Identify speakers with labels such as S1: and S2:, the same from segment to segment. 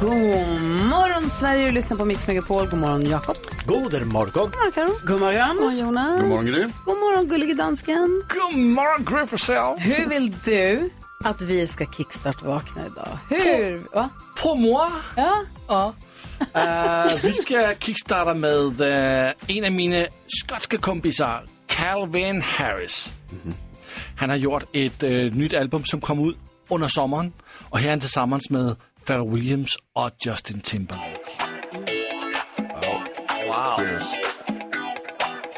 S1: God morgon Sverige, du lyssnar på Mix Megapol. God morgon Jakob.
S2: Goder morgon.
S1: God morgon Karo. God morgon. God morgon Jonas.
S3: God morgon, Gry.
S1: God morgon gullige dansken.
S4: God morgon Gry Forssell.
S1: Hur vill du att vi ska kickstart-vakna idag? Hur? Va?
S4: På moi?
S1: Ja.
S4: ja. Eh, vi ska kickstarta med eh, en av mina skotska kompisar, Calvin Harris. Han har gjort ett eh, nytt album som kom ut under sommaren. Och här är han tillsammans med Pharrell Williams och Justin Timberlake. Wow.
S3: Yes.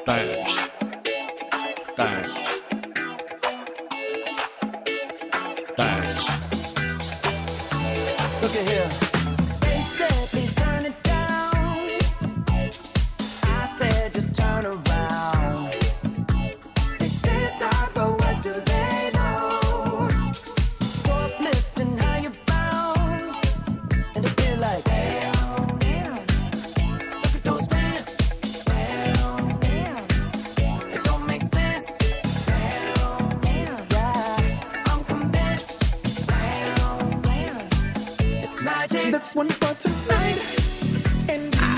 S4: Dance. Dance. Dance. Look at here.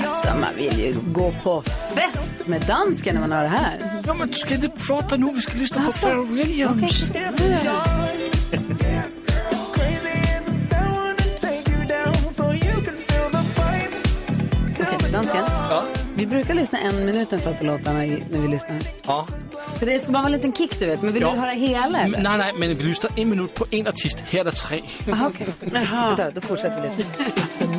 S1: Alltså man vill ju gå på fest med dansken när man hör det här.
S4: Ja, men du ska inte prata nu, vi ska lyssna på Pharrell Williams.
S1: Okej, dansken. Vi brukar lyssna en minut ungefär på låtarna i- när vi lyssnar.
S4: Ja.
S1: För det ska bara vara en liten kick du vet, men vill
S4: Ja.
S1: du höra hela
S4: Men,
S1: eller?
S4: nej, nej, men vi lyssnar en minut på en artist. Här är det tre.
S1: Jaha, okej. Vänta, Då fortsätter vi lite.
S5: It's a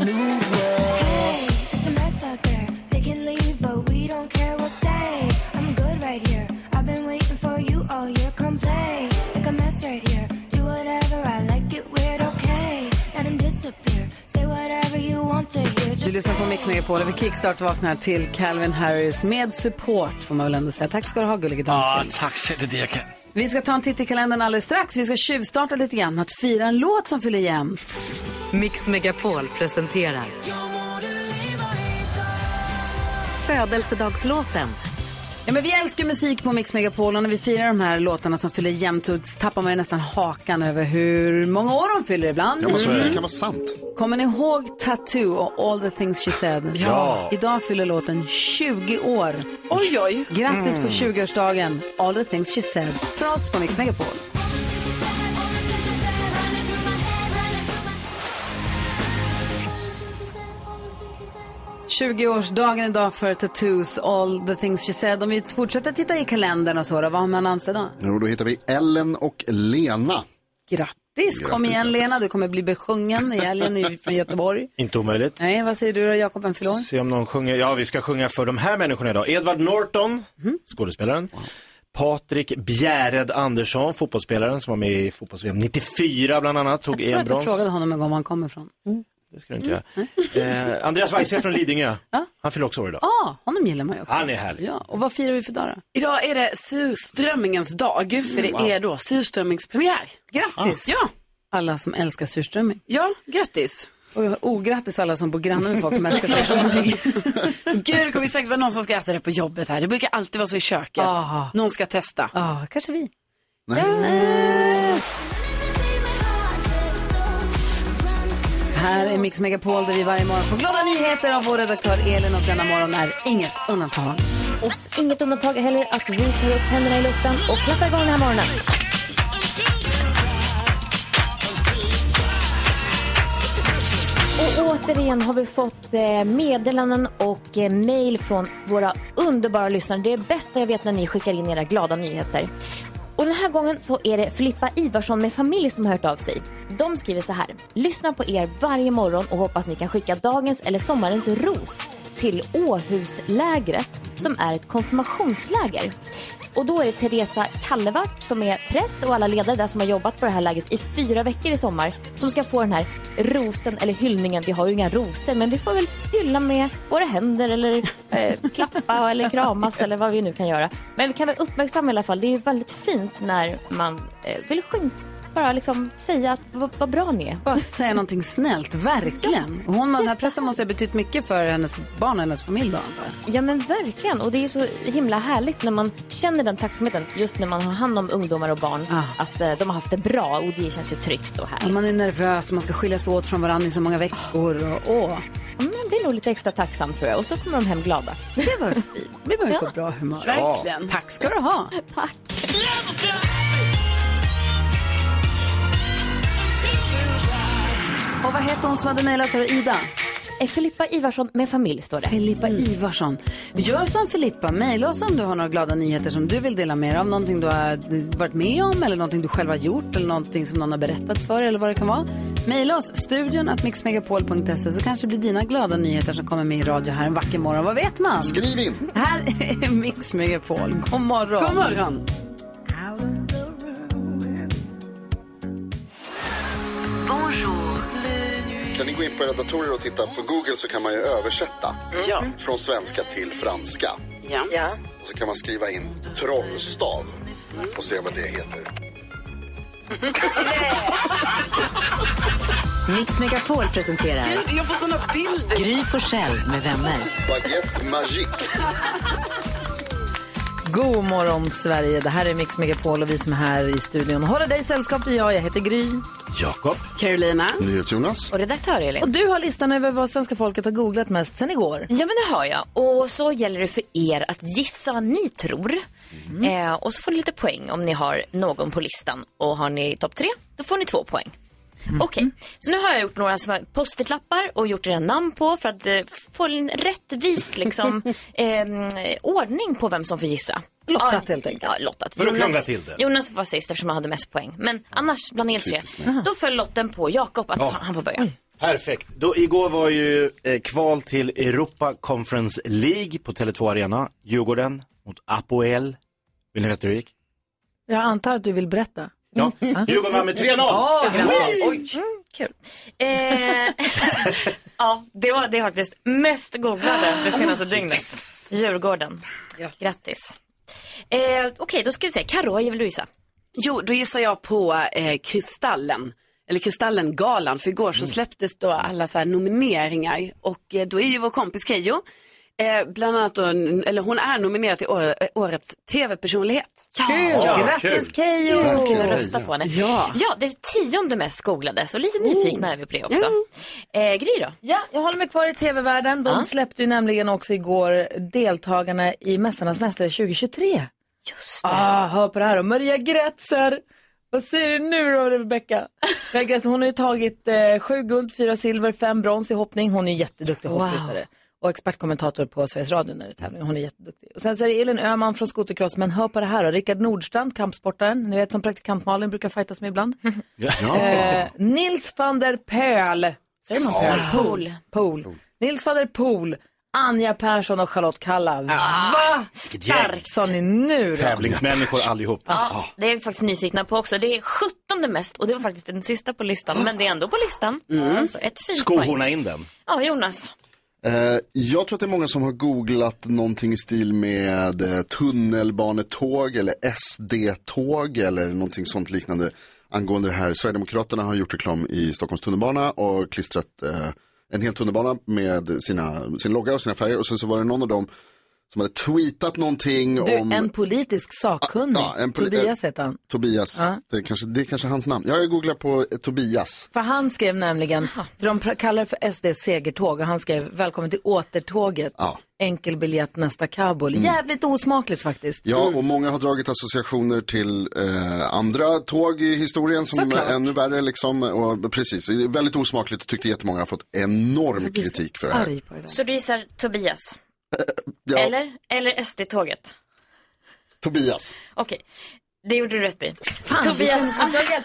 S5: mess out there. They can leave, but we don't care. We'll stay. I'm good right here. I've been waiting for you all year. Come play. Like a mess right here. Do whatever I like. It weird, okay? Let 'em disappear. Say whatever you want to hear.
S1: Du lyssnar på Mix Megapol och vi kickstart vaknar till Calvin Harris med support får man väl ändå säga. Tack ska du ha gullige
S4: Ja,
S1: dansken.
S4: tack så det är det jag kan.
S1: Vi ska ta en titt i kalendern alldeles strax. Vi ska tjuvstarta lite grann med att fira en låt som fyller jämnt.
S6: Mix Megapol presenterar Födelsedagslåten.
S1: Ja, men vi älskar musik på Mix Megapol och när vi firar de här låtarna som fyller jämnt så tappar man ju nästan hakan över hur många år de fyller ibland. Mm.
S3: Ja, men så är det. det kan vara sant.
S1: Kommer ni ihåg Tattoo och All the things she said?
S3: Ja.
S1: Idag fyller låten 20 år.
S7: Oj, oj.
S1: Grattis
S3: Mm.
S1: på 20-årsdagen, All the things she said, för oss på Mix Megapol.
S5: Just...
S1: 20-årsdagen idag för Tattoos All the things she said. Om vi fortsätter titta i kalendern och så, då, vad har man namnsdag idag?
S3: Jo, då hittar vi Ellen och Lena.
S1: Grattis! Kom
S3: Grattis,
S1: igen
S3: grattis.
S1: Lena, du kommer bli besjungen i helgen i- från Göteborg.
S2: Inte omöjligt.
S1: Nej, vad säger du då Jakob, vem fyller år?
S2: Se om någon sjunger. Ja, vi ska sjunga för de här människorna idag. Edvard Norton,
S1: Mhm.
S2: skådespelaren. Patrik Bjäred Andersson, fotbollsspelaren som var med i fotbolls 94 bland annat, tog
S1: Jag tror att du
S2: EM-brons.
S1: frågade honom en gång var han kommer ifrån.
S8: Mm.
S2: Det ska du inte göra. Eh, Andreas Weise från Lidingö, han fyller också år idag.
S1: Ja, honom gillar man ju också.
S2: Han är härlig.
S1: Ja, och vad firar vi för dag då?
S7: Idag är det surströmmingens dag, för
S4: Mm,
S7: det är då surströmmingspremiär.
S1: Grattis!
S7: Ja,
S1: Alla som älskar surströmming.
S7: ja, grattis.
S1: Och ograttis alla som bor grannar med folk som älskar surströmming.
S7: Gud, det kommer säkert vara någon som ska äta det på jobbet här. Det brukar alltid vara så i köket.
S1: Ah.
S7: Någon ska testa.
S1: Ja, kanske vi.
S3: Nej.
S1: Här är Mix Megapol där vi varje morgon får glada nyheter av vår redaktör Elin och denna morgon är inget undantag.
S8: oss inget undantag heller att vi tar upp händerna i luften och klappar igång den här morgonen. Och återigen har vi fått eh, meddelanden och eh, mejl från våra underbara lyssnare. Det är det bästa jag vet när ni skickar in era glada nyheter. Och den här gången så är det Filippa Ivarsson med familj som har hört av sig. De skriver så här. Lyssnar på er varje morgon och hoppas ni kan skicka dagens eller sommarens ros. till Åhuslägret som är ett konfirmationsläger. Och då är det Teresa Kallevart som är präst och alla ledare där som har jobbat på det här lägret i fyra veckor i sommar som ska få den här rosen eller hyllningen. Vi har ju inga rosor men vi får väl hylla med våra händer eller eh, klappa eller kramas eller vad vi nu kan göra. Men vi kan väl uppmärksamma i alla fall. Det är ju väldigt fint när man eh, vill skyn- bara liksom säga att vad, vad bra ni är.
S1: Bara säga någonting snällt, verkligen. Och Hon, den här pressen måste ha betytt mycket för hennes barn och hennes familj då antar jag.
S8: Ja men verkligen och det är ju så himla härligt när man känner den tacksamheten just när man har hand om ungdomar och barn
S1: Ah.
S8: att eh, de har haft det bra och det känns ju tryggt och härligt.
S1: Man är nervös och man ska skiljas åt från varandra i så många veckor. Och, åh.
S8: Ja, Man blir nog lite extra tacksam tror jag och så kommer de hem glada.
S1: Det var fint. Vi börjar på bra humör.
S8: Verkligen.
S1: Tack ska du ha.
S8: Tack.
S1: Och vad hette hon som hade mejlat? Sa du Ida?
S8: Eh, Filippa Ivarsson med familj står det. Mm.
S1: Filippa Ivarsson. Gör som Filippa, mejla oss om du har några glada nyheter som du vill dela med dig av. Någonting du har varit med om eller någonting du själv har gjort eller någonting som någon har berättat för eller vad det kan vara. Mejla oss, studion att mixmegapol.se så kanske det blir dina glada nyheter som kommer med i radio här en vacker morgon. Vad vet man?
S3: Skriv in!
S1: Här är Mix Megapol. God morgon.
S7: God morgon.
S3: Kan ni gå in på era datorer och titta på Google så kan man ju översätta. Mm.
S7: Ja.
S3: Från svenska till franska.
S7: Ja. ja.
S3: Och så kan man skriva in trollstav och se vad det heter.
S6: Mix Megapol presenterar
S7: Jag får såna bilder.
S6: Gry Forssell med vänner.
S3: Baguette magique.
S1: God morgon Sverige. Det här är Mix Megapol och vi som är här i studion håller dig sällskap. Det är jag, jag heter Gry.
S2: Jakob.
S7: Carolina.
S3: Jonas.
S8: Och redaktör Elin.
S1: Och du har listan över vad svenska folket har googlat mest sen igår.
S8: Ja, men det har jag. Och så gäller det för er att gissa vad ni tror.
S1: Mm.
S8: Eh, och så får ni lite poäng om ni har någon på listan. Och har ni topp tre, då får ni två poäng.
S1: Mm.
S8: Okej, så nu har jag gjort några små post-it-lappar och gjort era namn på för att eh, få en rättvis liksom, ehm, ordning på vem som får gissa.
S1: Lottat
S8: Ja,
S1: helt enkelt.
S8: Ja, lottat.
S2: För att krångla till det.
S8: Jonas var sist eftersom han hade mest poäng. Men annars, bland er tre, då föll lotten på Jakob att
S2: Ja.
S8: han får börja.
S2: Perfekt. Då, igår var ju eh, kval till Europa Conference League på Tele2 Arena. Djurgården mot Apoel. Vill ni veta hur det gick?
S1: Jag antar att du vill berätta.
S2: Ja. Djurgården vann med 3-0.
S8: Mm, kul. Eh, ja, det var det faktiskt mest googlade det senaste
S1: Ah,
S8: dygnet. Djurgården. Grattis. Eh, Okej, då ska vi se. Carro, vad vill du gissa?
S7: Jo, då gissar jag på eh, Kristallen. Eller Kristallengalan, för
S8: Mm.
S7: igår så släpptes då alla så här nomineringar. Och eh, då är ju vår kompis Keyyo, eh, bland annat då, n- eller hon är nominerad till år, eh, årets tv-personlighet.
S1: Kul!
S2: Ja,
S1: Grattis
S2: kul.
S1: Keyyo!
S8: Ska vi rösta på henne?
S7: Ja.
S8: ja, det är det tionde mest googlade, så lite
S1: Oh.
S8: nyfikna är vi på det också.
S1: Mm.
S8: Eh, Gry då?
S1: Ja, jag håller mig kvar i tv-världen. De
S8: Ja.
S1: släppte ju nämligen också igår deltagarna i Mästarnas mästare 2023.
S8: Just det.
S1: Ah, hör på det här då. Maria Grätzer. Vad säger du nu då, Rebecka? Maria Grätzer, hon har ju tagit eh, sju guld, fyra silver, fem brons i hoppning. Hon är ju jätteduktig hoppryttare. Och expertkommentator på Sveriges Radio när det är tävling. Hon är jätteduktig. Och sen så är det Elin Öhman från Skotercross. Men hör på det här då. Rickard Nordstrand, kampsportaren. Ni vet som praktikant Malin brukar fightas med ibland. Eh, Nils van der Pöl. Säger man Pöl?
S8: Pool.
S1: Pool. Nils van der Pool. Anja Persson och Charlotte Kalla. Va?
S2: gäng.
S8: Starkt.
S1: Sa ni nu då?
S2: Tävlingsmänniskor allihop.
S8: Ja, det är vi faktiskt nyfikna på också. Det är 17 mest och det var faktiskt den sista på listan. Men det är ändå på listan.
S1: Mm.
S8: Alltså, ett fint poäng.
S2: Skohorna in den.
S8: Ja, Jonas.
S3: Eh, jag tror att det är många som har googlat någonting i stil med eh, tunnelbanetåg eller SD-tåg eller någonting sånt liknande angående det här. Sverigedemokraterna har gjort reklam i Stockholms tunnelbana och klistrat eh, en hel tunnelbana med sina, sin logga och sina färger och sen så var det någon av dem som hade tweetat någonting
S1: Du,
S3: om Ah,
S1: en politisk sakkunnig.
S3: Ja, en poli- eh,
S1: Tobias heter han.
S3: Tobias.
S1: Ja.
S3: Det, är kanske, det är kanske hans namn. Ja, jag googlar på eh, Tobias.
S1: För han skrev nämligen, för de pra- kallar det för SD segertåg och han skrev välkommen till återtåget.
S3: Ja.
S1: Enkel biljett nästa Kabul. Jävligt osmakligt faktiskt.
S3: Ja, och många har dragit associationer till eh, andra tåg i historien som
S1: Såklart.
S3: är ännu värre liksom. Och, precis, det är väldigt osmakligt och tyckte jättemånga har fått enorm
S1: blir så
S3: kritik för det här.
S1: Arg på det där.
S8: Så du gissar Tobias?
S3: Ja,
S8: Eller? Eller SD-tåget?
S3: Tobias.
S8: Okej, det gjorde du rätt i.
S1: Fan, Tobias,
S8: Tobias,
S1: vi känner-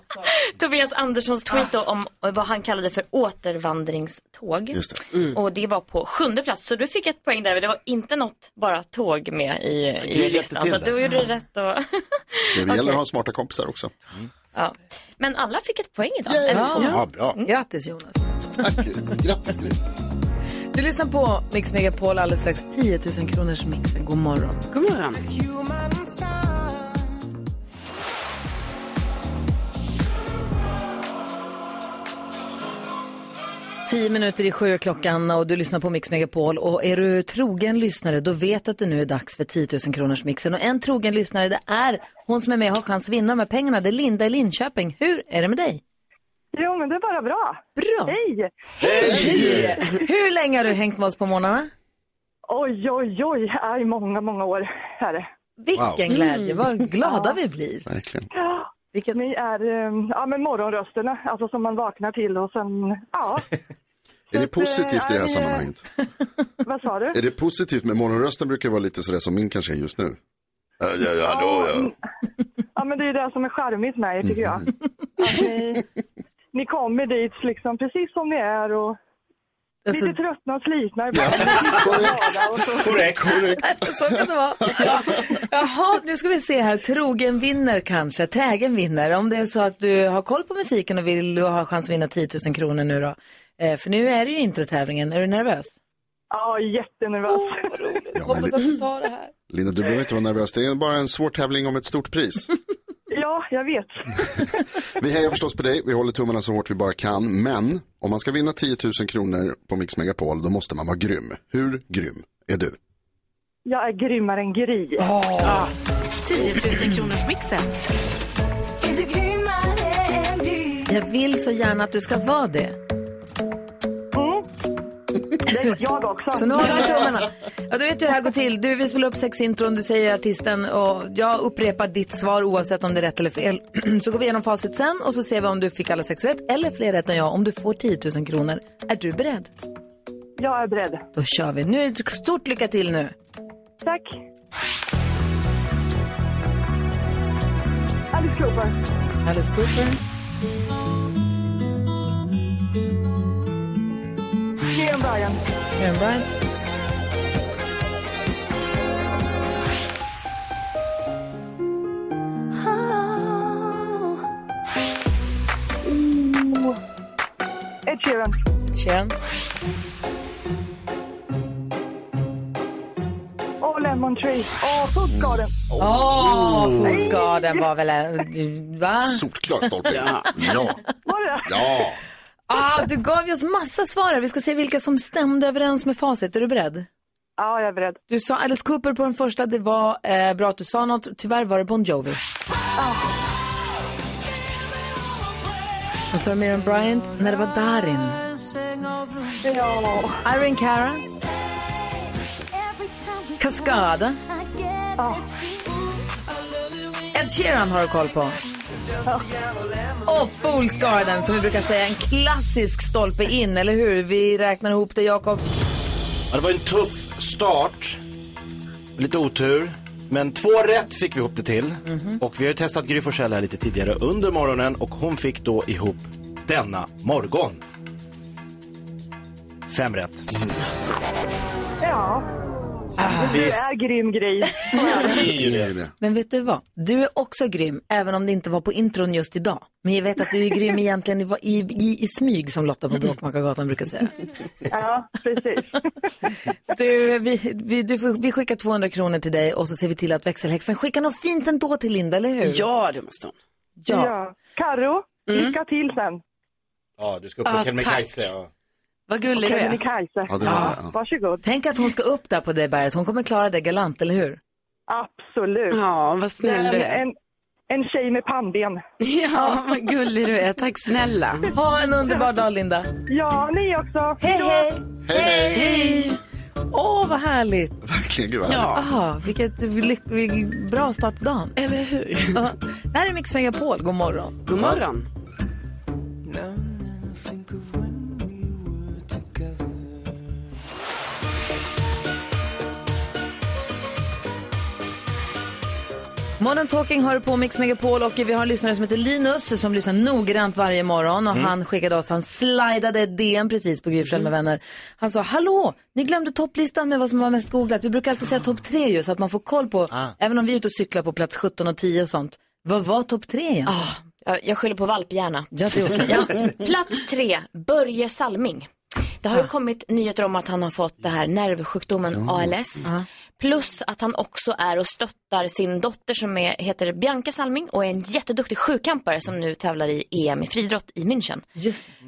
S8: Tobias Anderssons tweet då om vad han kallade för återvandringståg.
S3: Just
S8: det.
S1: Mm.
S8: Och det var på sjunde plats, så du fick ett poäng där. men Det var inte något bara tåg med i, i
S3: hjälpte
S8: listan.
S3: till
S8: Så att
S3: där.
S8: du gjorde rätt. Och...
S3: Det gäller
S8: Okej.
S3: att ha smarta kompisar också.
S8: ja. Men alla fick ett poäng idag.
S1: Yay.
S8: Eller
S1: Ja.
S8: två.
S1: Ja,
S3: bra.
S1: Grattis Jonas.
S3: Mm. Grattis Gry.
S1: Du lyssnar på Mix Megapol alldeles strax 10 000 kronors mixen. God morgon.
S7: God morgon.
S1: Tio minuter i sju är klockan och du lyssnar på Mix Megapol. Och är du trogen lyssnare då vet du att det nu är dags för 10 000 kronors mixen. Och en trogen lyssnare det är hon som är med och har chans att vinna de här pengarna. Det är Linda i Linköping. Hur är det med dig?
S9: Jo, men det är bara bra.
S1: Bra.
S9: Hej!
S1: Hur länge har du hängt med oss på morgnarna?
S9: Oj, oj, oj. I många, många år är det.
S1: Vilken glädje, vad glada
S9: Ja.
S1: vi blir.
S3: Verkligen.
S9: Ni är eh, ja, men morgonrösterna, alltså som man vaknar till och sen, ja.
S3: Är det positivt i det här
S9: eh,
S3: sammanhanget?
S9: Vad sa du?
S3: Är det positivt med morgonrösten brukar vara lite sådär som min kanske är just nu. Ja, ja, ja, hallå, ja.
S9: Ja, men det är ju det som är charmigt med er, tycker jag. Att ni, ni kommer dit liksom precis som ni är och
S1: Alltså-
S9: lite tröttna och slitna ibland.
S3: Korrekt,
S1: korrekt. Så kan det vara. Ja. Jaha, nu ska vi se här. Trogen vinner kanske, trägen vinner. Om det är så att du har koll på musiken och vill ha chans att vinna 10 000 kronor nu då. Eh, för nu är det ju introtävlingen. Är du nervös?
S9: Ja, jättenervös.
S3: Hoppas
S1: att du tar det här.
S3: Linda, du behöver inte vara nervös. Det är bara en svår tävling om ett stort pris.
S9: Ja, jag vet.
S3: Vi hejar förstås på dig. Vi håller tummarna så hårt vi bara kan. Men om man ska vinna 10 000 kronor på Mix Megapol, då måste man vara grym. Hur grym är du?
S9: Jag är grymmare än Gry. Ja.
S6: 10 000 kronors mixen.
S1: Jag vill så gärna att du ska vara det.
S9: Mm. Jag också.
S1: Så nu håller vi tummarna. Ja, du vet hur det här går till. Du, vi spelar upp sex intron, du säger artisten och jag upprepar ditt svar oavsett om det är rätt eller fel. så går vi igenom facit sen och så ser vi om du fick alla sex rätt eller fler rätt än jag. Om du får 10 000 kronor, är du beredd?
S9: Jag är beredd.
S1: Då kör vi. Nu, stort lycka till nu.
S9: Tack. Alice Cooper.
S1: Alice Cooper.
S9: Miriam Bryan.
S1: Miriam Bryan.
S9: Mm. Ed Sheeran.
S1: Sheeran.
S9: Oh, Lemon Tree. Oh, Food Garden.
S1: Åh, Foodgarden var väl en... Va?
S3: Solklar stolpe. Ja. ja. Ja.
S1: Ah, du gav ju oss massa svar här. Vi ska se vilka som stämde överens med facit. Är du beredd?
S9: Ja, jag är beredd.
S1: Du sa Alice Cooper på den första. Det var eh, bra att du sa något. Tyvärr var det Bon Jovi. Sen sa du Miriam Bryant när det var Darin. Irene Cara. Cascada. Ed Sheeran har du koll på. Och Fools Garden, som vi brukar säga, en klassisk stolpe in, eller hur? Vi räknar ihop det, Jakob.
S2: Ja, det var en tuff start. Lite otur. Men två rätt fick vi ihop det till. Och vi har ju testat Gry Forssell här lite tidigare under morgonen och hon fick då ihop denna morgon. Fem rätt. Ah.
S9: Ja. Du är grym grej.
S1: Men vet du vad? Du är också grym, även om det inte var på intron just idag. Men jag vet att du är grym egentligen i, i, i, i smyg, som Lotta på Bråkmakargatan brukar säga.
S9: Ja, precis.
S1: Du, vi, vi, du, får- vi skickar 200 kronor till dig och så ser vi till att växelhäxan skickar något fint ändå till Linda, eller hur?
S7: Ja, det måste hon.
S1: Ja.
S9: Karo,
S7: Mm.
S9: lycka till sen.
S2: Ja, du ska
S7: upp på Ah, Kebnekaise, tack. Vad gullig du är.
S9: Kebnekaise.
S7: Ja, det var det,
S9: ja. Varsågod.
S1: Tänk att hon ska upp där på det berget. Hon kommer klara det galant, eller hur?
S9: Absolut.
S7: Ja, vad snäll
S9: Men
S7: du är.
S9: En, en tjej med pannben.
S7: Ja, vad gullig du är. Tack snälla.
S1: Ha en underbar dag, Linda.
S9: Ja, ni också.
S1: Hej, hej.
S3: Hej,
S1: hej. Åh, vad härligt.
S3: Verkligen, gud vad
S1: Ja.
S3: härligt.
S1: Aha, vilket lyck- vil- bra start på dagen.
S7: Eller hur?
S1: det här är Mix Megapol. God morgon.
S7: God morgon.
S1: Modern Talking har du på Mix Megapol och vi har en lyssnare som heter Linus som lyssnar noggrant varje morgon och
S10: Mm.
S1: han skickade oss, han slidade ett DM precis på Gryfsjön med vänner. Han sa, hallå, ni glömde topplistan med vad som var mest googlat. Vi brukar alltid säga topp tre ju så att man får koll på, även om vi är ute och cyklar på plats 17 och 10 och sånt. Vad var topp tre igen?
S8: Jag, jag skyller på valphjärna.
S1: Ja, det är okej.
S8: Ja. Plats tre, Börje Salming. Det har ju kommit nyheter om att han har fått det här nervsjukdomen ALS. Plus att han också är och stöttar sin dotter som är, heter Bianca Salming och är en jätteduktig sjukampare som nu tävlar i EM i friidrott i München.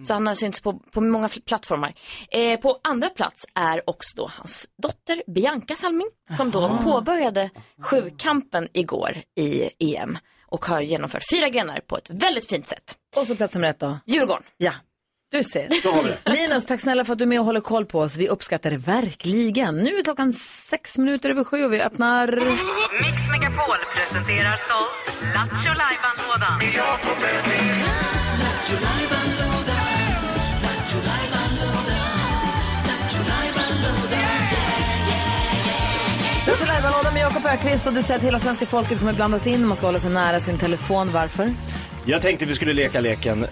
S8: Så han har synts på, på många fl- plattformar. Eh, på andra plats är också då hans dotter Bianca Salming som då påbörjade sjukampen igår i EM och har genomfört fyra grenar på ett väldigt fint sätt.
S1: Och så plats nummer ett då?
S8: Djurgården.
S1: Ja, du ser.
S8: Då har vi det.
S1: Linus, tack snälla för att du är med och håller koll på oss. Vi uppskattar det verkligen. Nu är klockan sex minuter över sju och vi öppnar...
S10: Mix Megapol presenterar stolt Lattjo Lajban-lådan.
S1: Du kör live med Jakob Ökvist och du säger att hela svenska folket kommer blandas in. Man ska hålla sig nära sin telefon. Varför?
S2: Jag tänkte vi skulle leka leken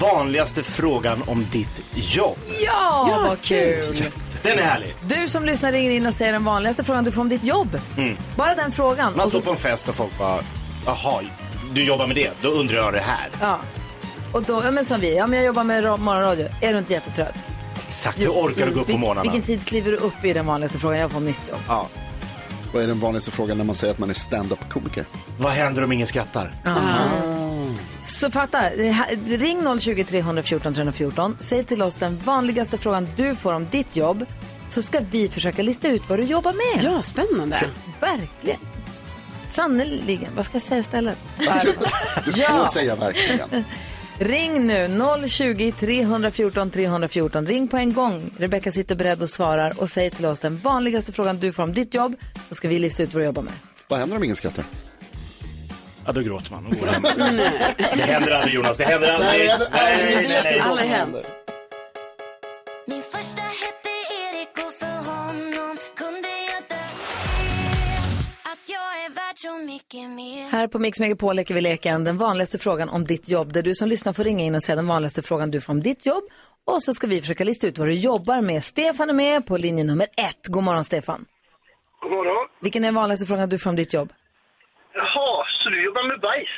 S2: vanligaste frågan om ditt jobb.
S1: Ja,
S2: Ja,
S1: vad kul!
S2: Den är härlig.
S1: Du som lyssnar ringer in och säger den vanligaste frågan du får om ditt jobb.
S2: Mm.
S1: Bara den frågan.
S2: Man
S1: Och
S2: står
S1: då-
S2: på en fest och folk bara, jaha, du jobbar med det, då undrar jag det här.
S1: Ja. Och då, ja men som vi, ja men jag jobbar med ra- morgonradio. Är du inte jättetrött?
S2: Exakt, hur orkar du gå upp på
S1: Vil-
S2: morgnarna?
S1: Vilken tid kliver du upp i den vanligaste frågan jag får om mitt jobb?
S2: Ja.
S3: Vad är den vanligaste frågan när man säger att man är stand-up-komiker?
S2: Vad händer om ingen skrattar?
S1: Ah. Så fatta, det här- ring 020 314 314. Säg till oss den vanligaste frågan du får om ditt jobb. Så ska vi försöka lista ut vad du jobbar med.
S7: Ja, spännande.
S1: Verkligen. Sannerligen. Vad ska jag säga istället?
S3: Du får
S1: Ja.
S3: säga verkligen.
S1: Ring nu 020 314 314. Ring på en gång. Rebecka sitter beredd och svarar och säger till oss den vanligaste frågan du får om ditt jobb. Så ska vi lista ut vad du jobbar med.
S3: Vad händer om ingen skrattar?
S2: Ja, då gråter man och går hem. Det händer aldrig Jonas, det händer aldrig.
S3: Nej, det händer aldrig.
S2: nej, nej, nej.
S3: Aldrig hänt.
S5: Min första hette Erik och för honom kunde jag dö Att jag är värd så mycket mer
S1: Här på Mix Megapol leker vi leken den vanligaste frågan om ditt jobb. Där du som lyssnar får ringa in och säga den vanligaste frågan du får om ditt jobb. Och så ska vi försöka lista ut vad du jobbar med. Stefan är med på linje nummer ett. God morgon Stefan.
S11: God morgon.
S1: Vilken är den vanligaste frågan du får om ditt jobb?
S11: Jaha, så du jobbar med bajs?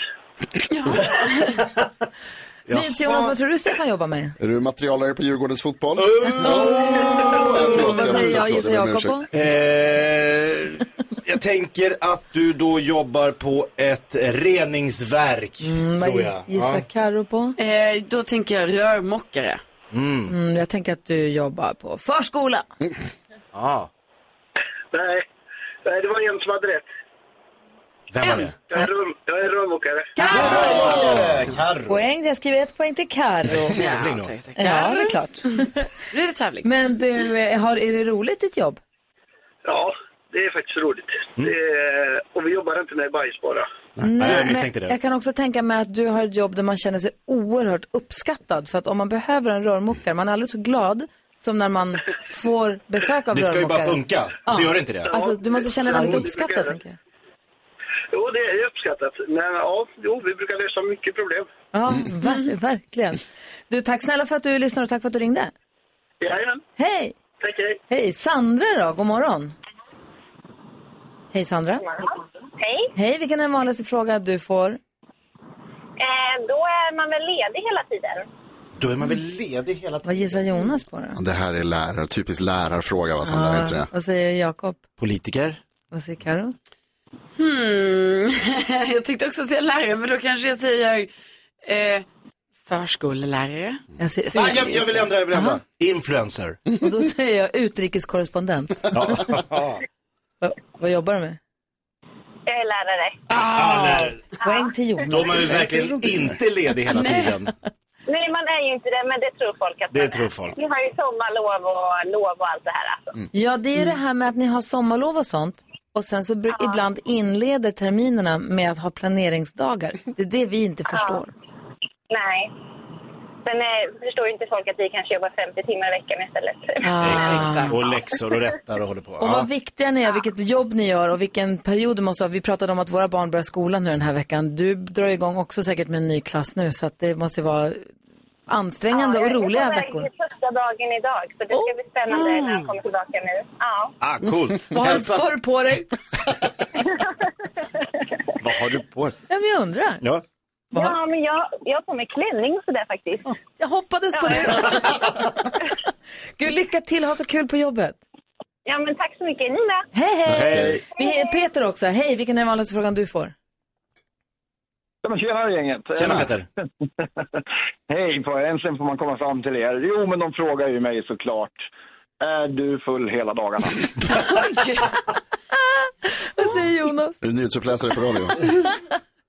S1: Jonas, vad tror du Stefan jobbar med?
S3: Är du materialare på Djurgårdens fotboll?
S2: Oh!
S1: Vad säger jag? Gissar Jakob på?
S2: Eh, jag tänker att du då jobbar på ett reningsverk,
S1: Mm,
S2: tror jag. Ja.
S1: Karo på?
S7: Eh, då tänker jag rörmokare.
S2: Mm.
S1: Mm, jag tänker att du jobbar på förskola.
S2: Ja.
S11: Nej. Nej, det var en som hade rätt.
S2: Vem var det?
S11: Jag är, rum, jag är rörmokare.
S2: Karro!
S1: Poäng, jag skriver ett poäng till Karo.
S2: Tävling då.
S1: Ja, det är klart.
S7: Nu är det tävling.
S1: Men du, eh, har, är det roligt ditt jobb?
S11: Ja, det är faktiskt roligt.
S2: Mm.
S11: Det är, och vi jobbar inte med bajs bara.
S1: men Jag kan också tänka mig att du har ett jobb där man känner sig oerhört uppskattad. För att om man behöver en rörmokare, man är aldrig så glad som när man får besök av
S2: Det ska ju bara
S1: rörmokare.
S2: funka,
S1: Ja.
S2: så gör det inte det.
S1: Alltså, du måste känna dig väldigt
S11: Ja.
S1: uppskattad, tänker jag.
S11: Jo, det är uppskattat. Men ja, jo, vi brukar lösa mycket problem.
S1: Ja,
S2: Mm.
S1: ver verkligen. Du, tack snälla för att du lyssnar och tack för att du ringde.
S11: Jajamän.
S1: Hej!
S11: Tack, hej.
S1: Hej, Sandra då, god morgon. Hej Sandra.
S12: Hej.
S1: Hej, vilken är den vanligaste frågan du får?
S12: Eh, då är man väl ledig hela tiden?
S2: Då är man väl ledig hela
S1: Vad gissar Jonas på då?
S3: Det här är lärar, typisk lärarfråga, vad som lär inte det?
S1: vad säger Jakob?
S2: Politiker?
S1: Vad säger Karo?
S7: Hmm. jag tänkte också säga lärare, men då kanske jag säger eh, förskollärare.
S1: Jag, ser,
S2: Ah, jag, jag vill ändra, jag vill ändra. Influencer.
S1: Och då säger jag utrikeskorrespondent. Va, vad jobbar du med?
S12: Jag är lärare.
S2: Ah, nej.
S1: Poäng till Jonas.
S2: Då är man ju verkligen inte ledig hela
S12: Nej.
S2: tiden.
S12: Nej, man är ju inte det, men det tror folk att
S2: Det
S12: man
S2: tror
S12: är.
S2: folk.
S12: Vi har ju sommarlov och lov och allt det här. Alltså.
S2: Mm.
S1: Ja, det är ju det här med att ni har sommarlov och sånt. Och sen så bru- ibland inleder terminerna med att ha planeringsdagar. Det är det vi inte förstår.
S12: Nej. Sen eh, förstår ju inte folk att vi kanske jobbar 50 timmar i veckan istället.
S1: Exakt.
S2: Och läxor och rättar och håller på.
S1: Ah. Och vad viktiga ni är, vilket jobb ni gör och vilken period du måste ha. Vi pratade om att våra barn börjar skolan nu den här veckan. Du drar igång också säkert med en ny klass nu så att det måste ju vara ansträngande
S12: Ja, jag är
S1: och
S12: på
S1: roliga
S12: väg
S1: veckor.
S12: till första dagen idag, så det ska bli spännande när han kommer tillbaka nu. Ja.
S2: Ah, coolt.
S1: Vad har
S2: Hälsa-
S1: vad har du på dig?
S2: Vad har du på dig?
S1: Ja, men jag undrar.
S2: Ja.
S12: Ja, men jag, jag har på mig klänning och sådär faktiskt.
S1: Jag hoppades på det. Gud, lycka till, ha så kul på jobbet.
S12: Ja, men tack så mycket. Ni med.
S1: Hej, hej!
S12: Hej.
S1: Vi är Peter också. Hej, vilken är den vanligaste frågan du får?
S13: Ja, men tjena gänget! Eh,
S2: Tjena, Peter.
S13: Hej, får jag, äntligen får man komma fram till er. Jo, men de frågar ju mig såklart. Är du full hela dagarna?
S1: Vad säger Jonas?
S3: Är du nyhetsuppläsare på radio?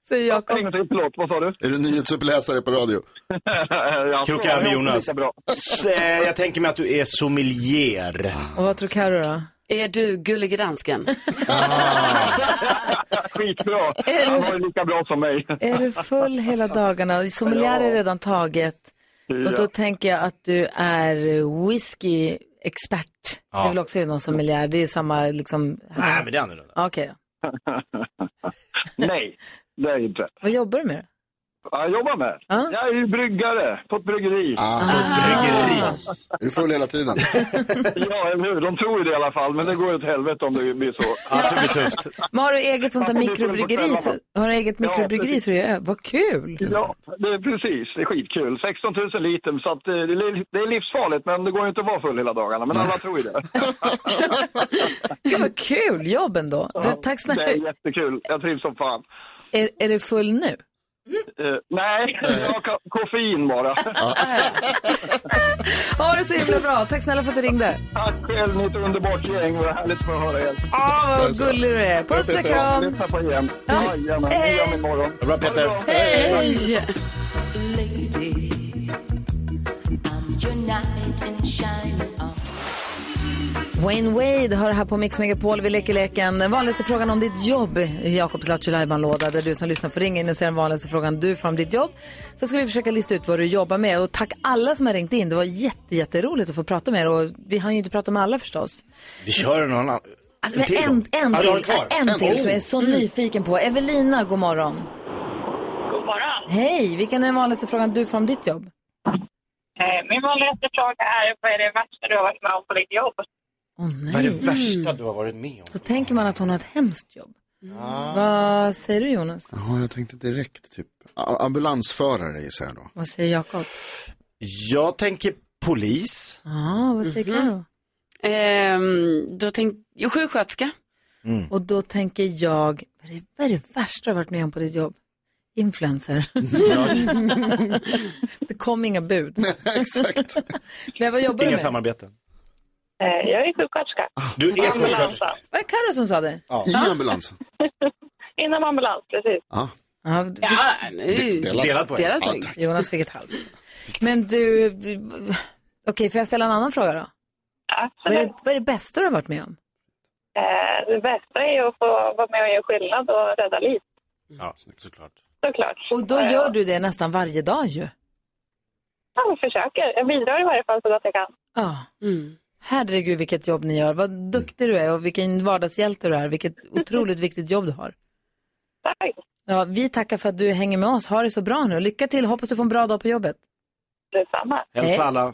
S1: Säger Jakob.
S13: Förlåt, vad sa du?
S3: Är du nyhetsuppläsare på radio?
S2: Krokar med Jonas. S- eh, Jag tänker mig att du är sommelier.
S1: Och vad tror Carro då?
S7: Är du gullig i dansken?
S13: Skitbra! Han var ju lika bra som mig.
S1: Är du full hela dagarna? Sommelier är redan taget. Och då
S13: Ja.
S1: tänker jag att du är whisky-expert.
S2: Ja.
S1: Det är väl också redan sommelier. Det är samma liksom...
S2: Nej, men det är annorlunda.
S1: Ja, Okej då.
S13: Nej, det är inte.
S1: Vad jobbar du med?
S13: Jag jobbar med? Jag är ju bryggare på ett bryggeri.
S2: Ah,
S1: Ah.
S3: Är du full hela tiden?
S13: Ja, eller hur? De tror ju det i alla fall, men det går ju åt helvete om det blir så.
S2: Ja, det blir tufft.
S1: Men har du eget sånt där
S13: Ja, det får du
S1: mikrobryggeri?
S13: bestämma.
S1: Så, har du eget
S13: Ja,
S1: mikrobryggeri så det är Vad kul!
S13: Ja, det är precis. Det är skitkul. 16 000 liter, så att eh, det är- det är livsfarligt, men det går ju inte att vara full hela dagarna. Men alla tror ju det.
S1: Gud vad kul jobb ändå. Du, tack
S13: Det
S1: snälla.
S13: är jättekul. Jag trivs som fan.
S1: Är, är du full nu?
S13: Eh, nej, jag har ka- koffein bara.
S1: Ha det så himla bra. Tack snälla för att du ringde.
S13: Tack själv, ni är ett underbart gäng. Vad härligt att få höra er.
S1: Ah, vad gullig du är. Puss och kram.
S13: Lyssna på er igen. Jajamän,
S1: Hej.
S13: vi gör imorgon.
S2: Bra Peter.
S1: Hej! Wayne Wade har här på Mix Megapol. Vi leker leken. Den vanligaste frågan om ditt jobb. Jakobs Lattjo-lajban-låda där du som lyssnar får ringa in och säga den vanligaste frågan du får om ditt jobb. Så ska vi försöka lista ut vad du jobbar med. Och tack alla som har ringt in. Det var jätte, jätteroligt att få prata med er. Och vi hann ju inte prata med alla förstås.
S2: Vi kör någon annan.
S1: Alltså, men en, en,
S2: Ja, du har
S1: till,
S2: kvar. Mm.
S1: en till som jag är så nyfiken på. Evelina, god morgon.
S14: God morgon.
S1: Hej, vilken är den vanligaste frågan du får om ditt jobb?
S14: Eh, Min vanligaste fråga är vad är det värsta du har varit med om på ditt jobb?
S2: Vad är det värsta du har varit med om?
S1: Så tänker man att hon har ett hemskt jobb. Vad säger du Jonas?
S3: Ja, jag tänkte direkt typ. A- Ambulansförare gissar jag då.
S1: Vad säger Jakob?
S2: Jag tänker polis.
S1: Ja, Ah, vad säger
S7: Mhm.
S1: Karo?
S7: Ehm, då tänk, jo, sjuksköterska.
S1: Och då tänker jag, vad är, det, vad är det värsta du har varit med om på ditt jobb? Influencer. det kom inga bud.
S3: Exakt.
S1: Nej, vad jobbar du
S2: Inga
S1: med?
S2: samarbeten.
S14: Eh, Jag är sjuksköterska.
S2: Du är
S14: Ambulansa.
S1: Var det Karo som sa det?
S3: I ambulansen?
S14: Inom ambulans, precis.
S3: Ja.
S1: Ja, vi-
S3: Delad- delad poäng. delad poäng. Ja,
S1: Jonas fick ett halvt. Men du, du- okej, får jag ställa en annan fråga då? Vad är, det, vad är det bästa du har varit med om?
S14: Eh, Det bästa är ju att få vara med och göra skillnad och rädda liv,
S2: Ja, såklart.
S14: såklart.
S1: Och då gör du det nästan varje dag ju.
S14: Jag försöker. Jag bidrar i varje fall så gott jag kan.
S1: Ja. Herregud vilket jobb ni gör. Vad duktig du är och vilken vardagshjälte du är. Vilket otroligt viktigt jobb du har.
S14: Tack.
S1: Ja, vi tackar för att du hänger med oss. Ha det så bra nu. Lycka till. Hoppas du får en bra dag på jobbet.
S14: Detsamma.
S2: Hälsa alla.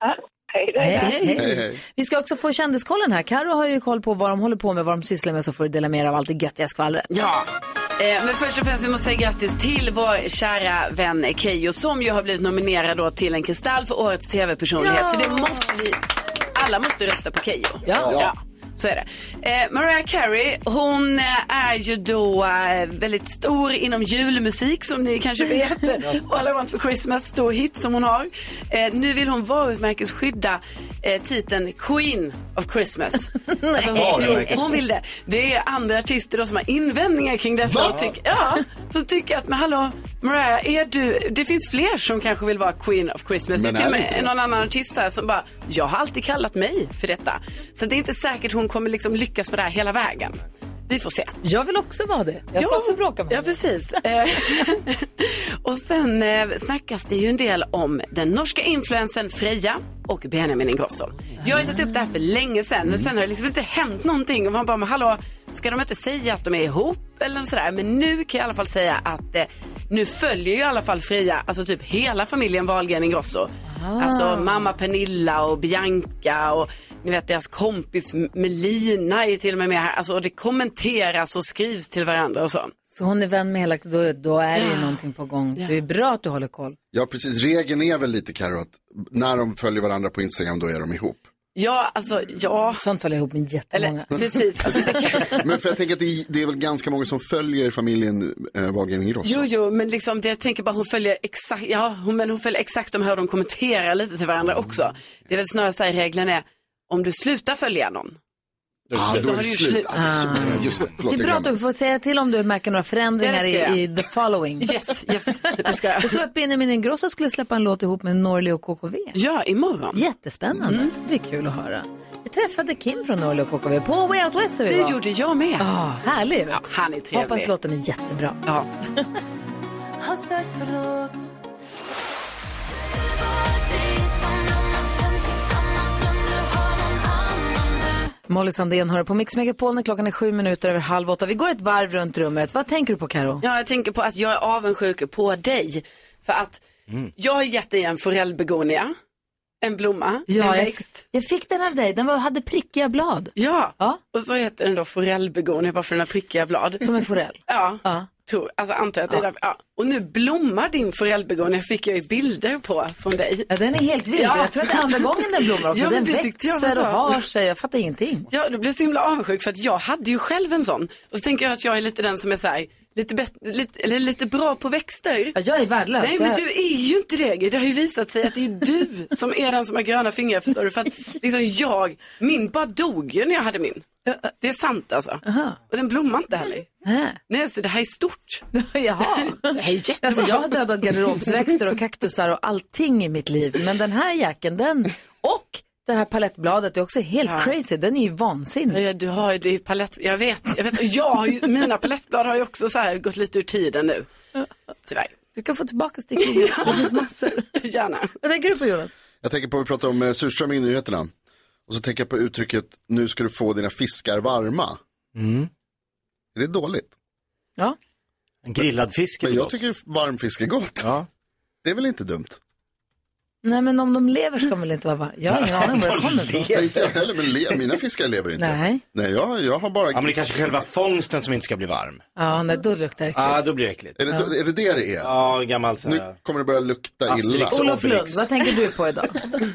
S14: Ja, Hej då.
S1: Hej, hej. Vi ska också få kändiskollen här. Karo har ju koll på vad de håller på med, vad de sysslar med, så får du dela med dig av allt det göttiga skvallret.
S7: Ja. Eh, men först och främst vi måste säga grattis till vår kära vän Keyyo som ju har blivit nominerad då till en kristall för årets tv-personlighet.
S1: Ja.
S7: Så det måste vi, alla måste rösta på Keyyo.
S1: Ja.
S7: Så är det. Eh, Mariah Carey, hon eh, är ju då eh, väldigt stor inom julmusik som ni kanske vet. All I want for Christmas, stor hit som hon har. Eh, nu vill hon varumärkesskydda eh, titeln Queen of Christmas. alltså, hon,
S15: Varumärkes-
S7: jo, hon vill det. Det är andra artister då som har invändningar kring detta.
S15: Va?
S7: Och tyck, ja, som tycker att, men hallå Mariah, är du, det finns fler som kanske vill vara Queen of Christmas.
S15: Men
S7: det är till och
S15: är det inte
S7: med
S15: det?
S7: någon annan artist här som bara, jag har alltid kallat mig för detta. Så det är inte säkert hon kommer liksom lyckas med det här hela vägen. Vi får se.
S1: Jag vill också vara det. Jag ska också bråka med
S7: Ja, precis. Eh, och sen eh, snackas det ju en del om den norska influensen Freja och Benjamin Ingrosso. Jag har ju tagit upp det här för länge sedan, men sen har det liksom inte hänt någonting. Och man bara, men hallå, ska de inte säga att de är ihop eller sådär? Men nu kan jag i alla fall säga att eh, nu följer ju i alla fall Freja, alltså typ hela familjen Wahlgren Ingrosso.
S1: Ah.
S7: Alltså mamma Pernilla och Bianca och ni vet deras kompis M- Melina är till och med med här. Alltså och det kommenteras och skrivs till varandra och så.
S1: Så hon är vän med hela, då, då är det ju någonting på gång. Det är bra att du håller koll.
S3: Ja, precis. Regeln är väl lite Carro att när de följer varandra på Instagram då är de ihop.
S7: Ja, alltså ja.
S1: Sånt faller ihop med jättemånga.
S7: Eller, precis. Alltså, det kan...
S3: Men för jag tänker att det är, det är väl ganska många som följer familjen eh, Wahlgren Ingrosso.
S7: Jo, jo, men liksom, det, jag tänker bara hon följer exakt, ja, hon, men hon följer exakt om hur de kommenterar lite till varandra
S3: Mm.
S7: också. Det är väl snarare så här regeln är, om du slutar följa någon. Oh,
S3: Ah, då är det slut. Ah, det är så-
S7: Mm.
S3: ja, Just det, förlåt,
S1: Det är
S3: jag
S1: bra att
S3: glömde.
S1: du får säga till om du märker några förändringar
S7: Det ska jag.
S1: i, i the following.
S7: Yes, yes, det ska jag.
S1: Jag såg att Benjamin Ingrosso skulle släppa en låt ihop med Norli och KKV.
S7: Ja, imorgon. Mm.
S1: Jättespännande. Det blir kul att höra. Jag träffade Kim från Norli och KKV på Way Out West där vi
S7: Det
S1: var.
S7: gjorde jag med.
S1: Ah, härlig.
S7: Ja, han är trevlig.
S1: Hoppas låten är jättebra.
S7: Ja.
S10: Har sagt förlåt.
S1: Molly Sandén hör på Mix Megapol när klockan är sju minuter över halv åtta. Vi går ett varv runt rummet. Vad tänker du på Karo?
S7: Ja, jag tänker på att jag är avundsjuk på dig. För att
S3: Mm.
S7: jag har gett dig en forellbegonia, en blomma, en
S1: jag,
S7: växt.
S1: jag fick den av dig. Den var, hade prickiga blad.
S7: Ja. och så heter den då forellbegonia bara för den har prickiga blad.
S1: Som en forell?
S7: Ja, Tror, alltså antar jag att det är därför. ja. Och nu blommar din forellbegonia, fick jag ju bilder på från dig.
S1: Ja, den är helt vild. Jag tror att det är andra gången den blommar också.
S7: Ja, men
S1: den
S7: det tyckte jag var
S1: växer och
S7: så.
S1: har sig. Jag fattar ingenting.
S7: Ja, då blev jag så himla avundsjuk för att jag hade ju själv en sån. Och så tänker jag att jag är lite den som är så här, lite, bet- lite, eller lite bra på växter.
S1: Ja, jag är värdelös.
S7: Nej, men
S1: Jag-
S7: du är ju inte det. Det har ju visat sig att det är du som är den som har gröna fingrar, förstår du? För att liksom jag, min bara dog ju när jag hade min. Det är sant alltså. Och den blommar inte heller.
S1: Äh.
S7: Nej, så det här är stort.
S1: Jaha.
S7: Det här är jättebra.
S1: Alltså, jag har dödat garderobsväxter och kaktusar och allting i mitt liv. Men den här jäkeln, den och det här palettbladet är också helt crazy. Den är ju vansinnig.
S7: Ja, du har ju det är ju palett, jag vet, jag vet, och jag har ju, mina palettblad har ju också så här gått lite ur tiden nu. Tyvärr.
S1: Du kan få tillbaka stickningen. Det finns massor.
S7: Gärna.
S1: Vad tänker du på Jonas?
S3: Jag tänker på att vi pratar om eh, surströmming i nyheterna. Och så tänker jag på uttrycket nu ska du få dina fiskar varma.
S2: Mm.
S3: Är det dåligt?
S1: Ja.
S2: En grillad fisk är
S3: Men
S2: väl
S3: jag
S2: gott?
S3: tycker varm fisk är gott. Det är väl inte dumt?
S1: Nej, men om de lever ska de väl inte vara varma? Jag har ingen aning om var det kommer ifrån.
S3: Nej, inte jag heller, men le- mina fiskar lever inte.
S1: Nej.
S3: Nej, jag, jag har bara...
S2: Ja, men det är kanske själva fångsten som inte ska bli varm.
S1: Ja, nej, då luktar det äckligt.
S3: Ah,
S2: Ja, då blir det äckligt.
S3: Är det, är det det det är?
S2: Ja, gammalt så
S3: Nu
S2: här.
S3: kommer det börja lukta illa.
S2: Asterix och
S1: Olof Lund, vad tänker du på idag?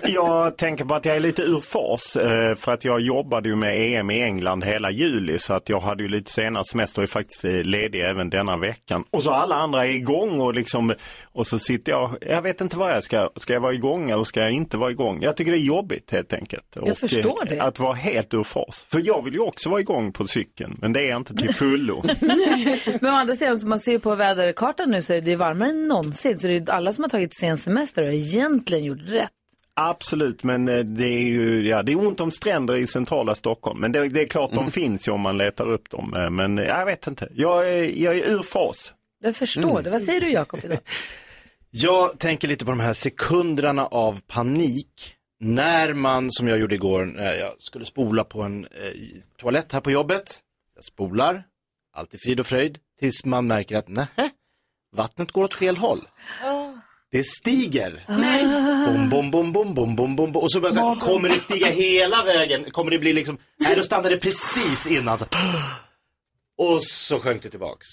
S15: Jag tänker på att jag är lite ur fas eh, för att jag jobbade ju med EM i England hela juli så att jag hade ju lite senare semester och är faktiskt eh, ledig även denna veckan. Och så alla andra är igång och liksom och så sitter jag, jag vet inte vad jag ska, ska jag vara igång eller ska jag inte vara igång? Jag tycker det är jobbigt helt enkelt. Jag
S1: förstår det.
S15: Att vara helt ur fas. För jag vill ju också vara igång på cykeln men det är jag inte till fullo.
S1: Men å andra sidan, som man ser ju på väderkartan nu så är det ju varmare än någonsin. Så det är ju alla som har tagit sen semester har egentligen gjort rätt.
S15: Absolut, men eh, det är ju ja, det är ont om stränder i centrala Stockholm. Men det, det är klart de finns ju om man letar upp dem. eh, Men eh, jag vet inte, jag är, jag är ur fas.
S1: Jag förstår det. Vad säger du Jakob idag?
S2: Jag tänker lite på de här sekunderna av panik. När man, som jag gjorde igår, när jag skulle spola på en eh, toalett här på jobbet. Jag spolar, allt i frid och fröjd, tills man märker att nähä, vattnet går åt fel håll.
S10: Oh.
S2: Det stiger.
S10: Nej.
S2: Bom, bom, bom, bom, bom, bom, bom, bom. Och så börjar jag säga, kommer det stiga hela vägen? Kommer det bli liksom, nej då stannar det precis innan. Så. Och så sjönk det tillbaks.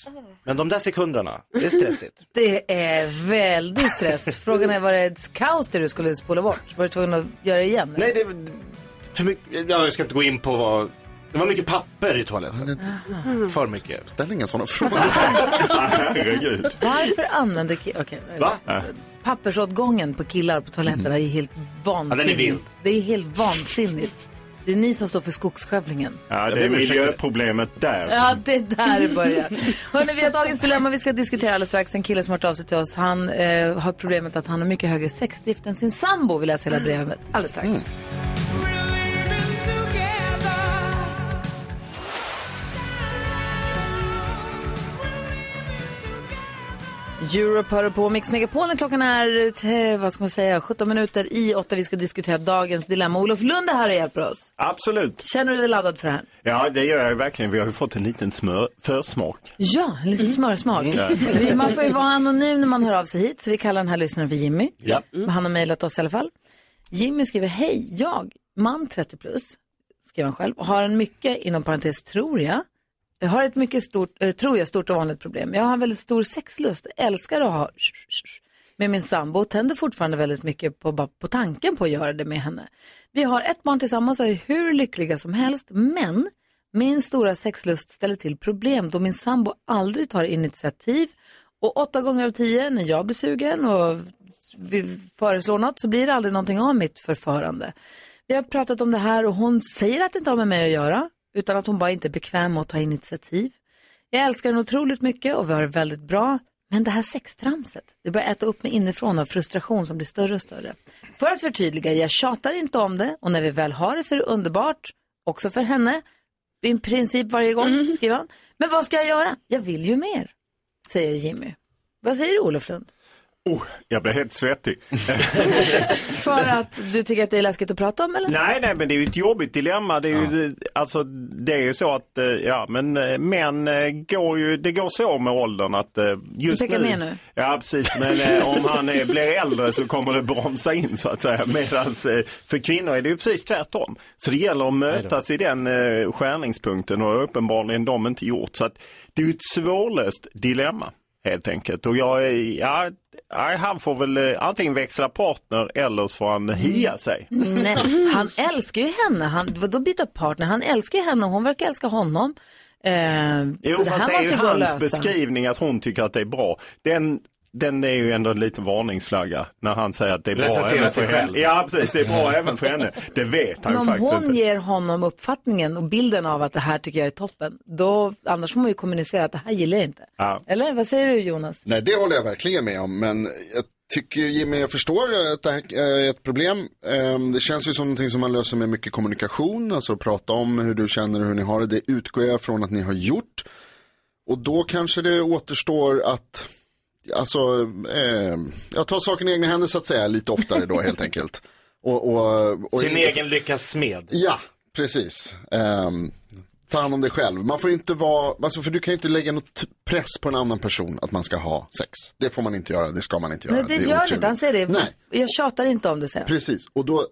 S2: Men de där sekunderna, det är stressigt.
S1: Det är väldigt stress. Frågan är, var det ett kaos det du skulle spola bort? Var du tvungen att göra det igen?
S2: Nej, det för mycket, ja, jag ska inte gå in på vad, det var mycket papper i toaletten. För mycket.
S3: Mm. Ställ inga sådana frågor.
S15: Herregud.
S1: Varför använder ki- okej, nej.
S2: Va?
S1: Pappersåtgången på killar på toaletterna är helt vansinnigt.
S15: vild.
S1: Det är helt vansinnigt. Det är ni som står för skogsskövlingen.
S15: Ja,
S2: Jag
S15: det är
S2: ber om ursäkt för
S15: miljöproblemet där.
S1: Ja, det är där det börjar. Hörrni, vi har dagens dilemma vi ska diskutera alldeles strax. En kille som har hört av sig till oss, han eh, har problemet att han har mycket högre sexdrift än sin sambo. Vi läser hela brevet alldeles strax. Europe hör du på Mix Megapol när klockan är te, vad ska man säga, 17 minuter i 8. Vi ska diskutera dagens dilemma. Olof Lund är här och hjälper oss.
S15: Absolut.
S1: Känner du dig laddad för det här?
S15: Ja, det gör jag ju verkligen. Vi har ju fått en liten smör försmak.
S1: Ja, en liten smörsmak.
S15: Mm.
S1: Vi- Man får ju vara anonym när man hör av sig hit, så vi kallar den här lyssnaren för Jimmy.
S15: Ja.
S1: Mm. Han har mejlat oss i alla fall. Jimmy skriver, hej, jag, man 30 plus, skriver han själv, har en mycket, inom parentes tror jag, jag har ett mycket stort, eh, tror jag, stort och vanligt problem. Jag har en väldigt stor sexlust, älskar att ha med min sambo och tänder fortfarande väldigt mycket på, bara på tanken på att göra det med henne. Vi har ett barn tillsammans och är hur lyckliga som helst, men min stora sexlust ställer till problem då min sambo aldrig tar initiativ och åtta gånger av tio när jag blir sugen och vill föreslå något så blir det aldrig någonting av mitt förförande. Vi har pratat om det här och hon säger att det inte har med mig att göra utan att hon bara inte är bekväm med att ta initiativ. Jag älskar henne otroligt mycket och vi har det väldigt bra. Men det här sextramset, det börjar äta upp mig inifrån av frustration som blir större och större. För att förtydliga, jag tjatar inte om det och när vi väl har det så är det underbart, också för henne. I princip varje gång, skriver han. Men vad ska jag göra? Jag vill ju mer, säger Jimmy. Vad säger du, Olof Lund?
S15: Oh, jag blev helt svettig.
S1: För att du tycker att det är läskigt att prata om eller?
S15: Nej, nej, men det är ju ett jobbigt dilemma. Det är ju, alltså, det är ju så att, eh, ja, men eh, män eh, går ju, det går så med åldern att eh, just
S1: Du pekar
S15: nu.
S1: ner nu?
S15: Ja, precis, men eh, om han eh, blir äldre så kommer det bromsa in så att säga. Medans eh, för kvinnor är det ju precis tvärtom. Så det gäller att mötas i den eh, skärningspunkten och uppenbarligen de inte gjort. Så att det är ju ett svårlöst dilemma helt enkelt. Och jag, är- ja, nej, han får väl eh, antingen växla partner eller så får han
S1: Mm.
S15: hia sig.
S1: Nej, han älskar ju henne. Han, då byta partner? Han älskar ju henne och hon verkar älska honom. Eh,
S15: Jo,
S1: så det
S15: fast
S1: här
S15: det är
S1: måste
S15: ju
S1: ju gå att
S15: hans
S1: lösa.
S15: beskrivning att hon tycker att det är bra. Den, den är ju ändå en liten varningsflagga när han säger att det är bra
S2: Recensera
S15: även
S2: sig
S15: för henne.
S2: själv.
S15: Ja, precis. Det är bra även för henne. Det vet han
S1: Men
S15: ju
S1: om
S15: faktiskt
S1: hon
S15: inte.
S1: ger honom uppfattningen och bilden av att det här tycker jag är toppen, då, annars får man ju kommunicera att det här gillar jag inte.
S3: Ja.
S1: Eller vad säger du Jonas?
S3: Nej, det håller jag verkligen med om. Men jag tycker Jimmy, jag förstår att det här är ett problem. Ehm, Det känns ju som någonting som man löser med mycket kommunikation. Alltså prata om hur du känner och hur ni har det. Det utgår jag från att ni har gjort. Och då kanske det återstår att alltså, ehm, ja, ta saken i egna händer så att säga lite oftare då helt enkelt. Och, och, och
S2: Sin egen lyckas smed.
S3: Ja, precis. Ehm, ta hand om dig själv. Man får inte vara, alltså för du kan ju inte lägga något press på en annan person att man ska ha sex. Det får man inte göra, det ska man inte göra.
S1: Nej, det, gör han
S3: otrevligt.
S1: inte. Han säger det.
S3: Nej,
S1: Jag tjatar inte om det sen.
S3: precis. Och då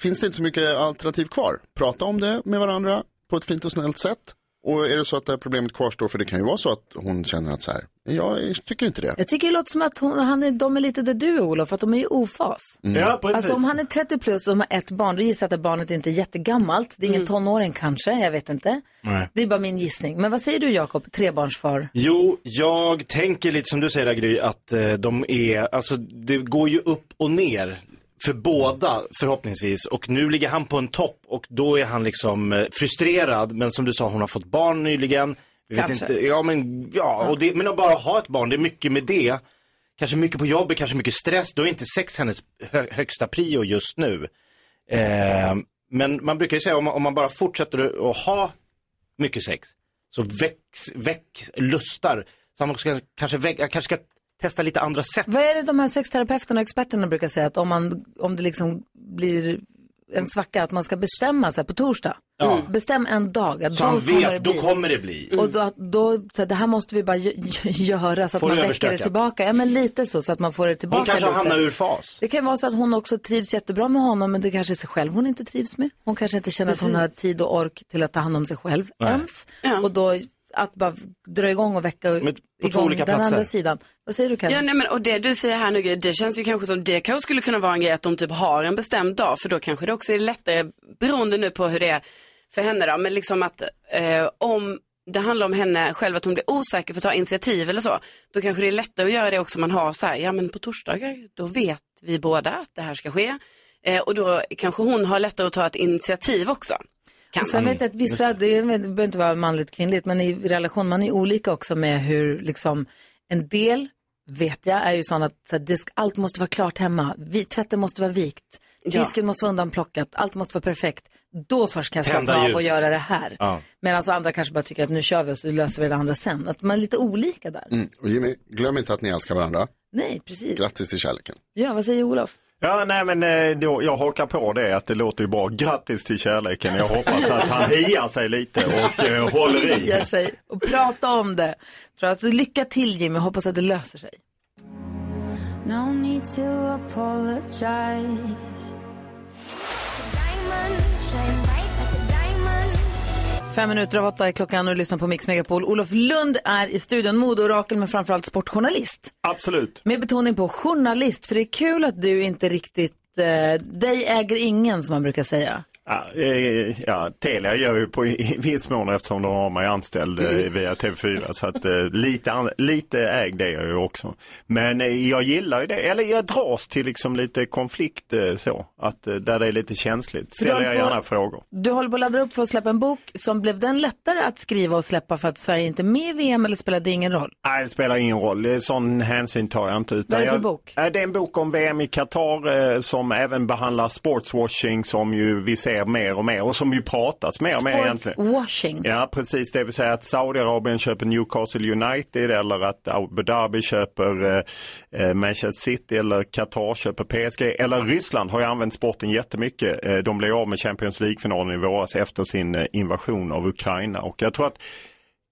S3: finns det inte så mycket alternativ kvar. Prata om det med varandra på ett fint och snällt sätt. Och är det så att det här problemet kvarstår, för det kan ju vara så att hon känner att så här, jag tycker inte det.
S1: Jag tycker det låter som att hon, han är, de är lite där du är Olof, att de är i ofas.
S3: Mm. Ja, precis.
S1: Alltså om han är 30 plus och de har ett barn, då gissar jag att det barnet inte är jättegammalt. Det är ingen tonåring kanske, jag vet inte.
S2: Nej.
S1: Det är bara min gissning. Men vad säger du Jakob, trebarnsfar?
S2: Jo, jag tänker lite som du säger där, Gry, att eh, de är, alltså det går ju upp och ner för båda förhoppningsvis och nu ligger han på en topp och då är han liksom eh, frustrerad men som du sa hon har fått barn nyligen. Vi vet
S16: Kanske.
S2: inte, ja men ja, och det, men att bara ha ett barn, det är mycket med det. Kanske mycket på jobbet, kanske mycket stress, då är inte sex hennes hö högsta prio just nu. Eh, men man brukar ju säga om man, om man bara fortsätter att ha mycket sex så väcks, väcks lustar. Så man ska, kanske, väck, jag kanske ska testa lite andra sätt.
S1: Vad är det de här sexterapeuterna och experterna brukar säga, att om, man, om det liksom blir en svacka, att man ska bestämma sig på torsdag. Mm.
S2: Ja.
S1: Bestäm en dag. Att
S2: Så han
S1: kommer
S2: vet,
S1: det
S2: då
S1: bli.
S2: kommer det bli.
S1: Och då, då så här, det här måste vi bara gö- gö- göra så att
S2: Får
S1: man
S2: du
S1: väcker det
S2: överstökat?
S1: tillbaka. Ja, men lite så, så att man får det tillbaka
S2: Hon kanske
S1: lite.
S2: hamnar ur fas.
S1: Det kan ju vara så att hon också trivs jättebra med honom men det kanske är sig själv hon inte trivs med. Hon kanske inte känner att hon
S7: Precis.
S1: har tid och ork till att ta hand om sig själv
S7: Nej.
S1: ens. Och då att bara dra igång och väcka
S7: två
S1: igång den
S7: olika platser.
S1: andra sidan. Vad säger du Karin?
S7: Ja, nej, men, och det du säger här nu, Gry, det känns ju kanske som det kanske skulle kunna vara en grej att de typ har en bestämd dag, för då kanske det också är lättare, beroende nu på hur det är för henne då, men liksom att eh, om det handlar om henne själv, att hon blir osäker för att ta initiativ eller så, då kanske det är lättare att göra det också om man har så här, ja men på torsdagar, då vet vi båda att det här ska ske. Eh, och då kanske hon har lättare att ta ett initiativ också.
S1: Och sen vet Alltså, jag att vissa, det behöver inte vara manligt kvinnligt, men i relation, man är olika också med hur liksom en del vet jag är ju sån att så här, disk, allt måste vara klart hemma. Vi, tvätten måste vara vikt.
S7: Ja.
S1: Disken måste vara undanplockat. Allt måste vara perfekt. Då först kan jag
S7: Tända
S1: slappna av och
S7: ljus.
S1: göra det här.
S3: Ja.
S1: Medan alltså, andra kanske bara tycker att nu kör vi och så löser vi det andra sen. Att man är lite olika där.
S3: Mm. Och Jimmy, glöm inte att ni älskar varandra.
S1: Nej, precis.
S3: Grattis till kärleken.
S1: Ja, vad säger Olof?
S15: Ja, nej men eh, då, jag hakar på det att det låter ju bra. Grattis till kärleken. Jag hoppas att han hiar sig lite och eh, håller i.
S1: Ger sig och prata om det. Tror att, lycka till Jimmy, hoppas att det löser sig.
S10: No need to apologize.
S1: Fem minuter av åtta är klockan och du lyssnar på Mix Megapol. Olof Lund är i studion, modeorakel men framförallt sportjournalist.
S15: Absolut.
S1: Med betoning på journalist, för det är kul att du inte riktigt, eh, dig äger ingen som man brukar säga.
S15: Ja, eh, ja, Telia gör ju på i i viss mån eftersom de har mig anställd eh, via TV4 så att eh, lite, an- lite ägd är jag ju också. Men eh, jag gillar ju det, eller jag dras till liksom lite konflikt eh, så, att eh, där det är lite känsligt
S1: För du
S15: ställer
S1: håller
S15: jag
S1: på-
S15: gärna frågor.
S1: Du håller på att ladda upp för att släppa en bok som blev den lättare att skriva och släppa för att Sverige inte är med i VM eller spelade ingen roll?
S15: Nej, det spelar ingen roll. Eh, Sån hänsyn tar jag inte. Utan
S1: Vad är det för
S15: jag,
S1: bok?
S15: Eh, Det är en bok om VM i Qatar eh, som även behandlar sportswashing som ju vi ser mer och mer och som ju pratas mer och mer egentligen.
S1: Sportswashing.
S15: Ja precis, det vill säga att Saudiarabien köper Newcastle United eller att Abu Dhabi köper eh, eh, Manchester City eller Qatar köper PSG. Eller Ryssland har ju använt sporten jättemycket. Eh, de blev av med Champions League-finalen i våras efter sin eh, invasion av Ukraina. Och jag tror att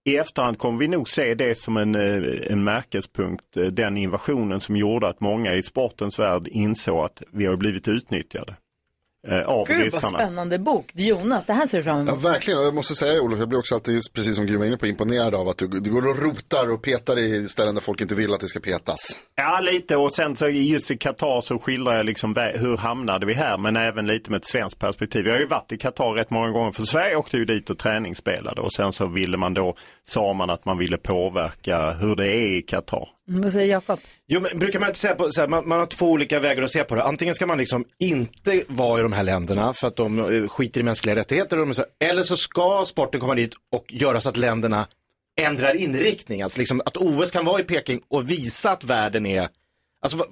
S15: i efterhand kommer vi nog se det som en, eh, en märkespunkt, eh, den invasionen som gjorde att många i sportens värld insåg att vi har blivit utnyttjade eh, av
S1: Gud vad
S15: ryssarna.
S1: spännande bok. Jonas, det här ser du fram
S3: Ja,
S1: emot.
S3: verkligen. Och Jag måste säga Olof, jag blir också alltid, precis som Gry var inne på, imponerad av att du, du går och rotar och petar i ställen där folk inte vill att det ska petas.
S15: Ja, lite och sen så just i Qatar så skildrar jag liksom vä- hur hamnade vi här men även lite med ett svenskt perspektiv. Jag har ju varit i Qatar rätt många gånger för Sverige åkte ju dit och träningsspelade och sen så ville man då, sa man att man ville påverka hur det är i Qatar.
S1: Mm, Vad säger Jakob?
S2: Jo, men brukar man inte säga på, så här, man, man har två olika vägar att se på det. Antingen ska man liksom inte vara i de här länderna för att de eh, skiter i mänskliga rättigheter. Och de är så, eller så ska sporten komma dit och göra så att länderna ändrar inriktning. Alltså liksom att OS kan vara i Peking och visa att världen är... Alltså, vad-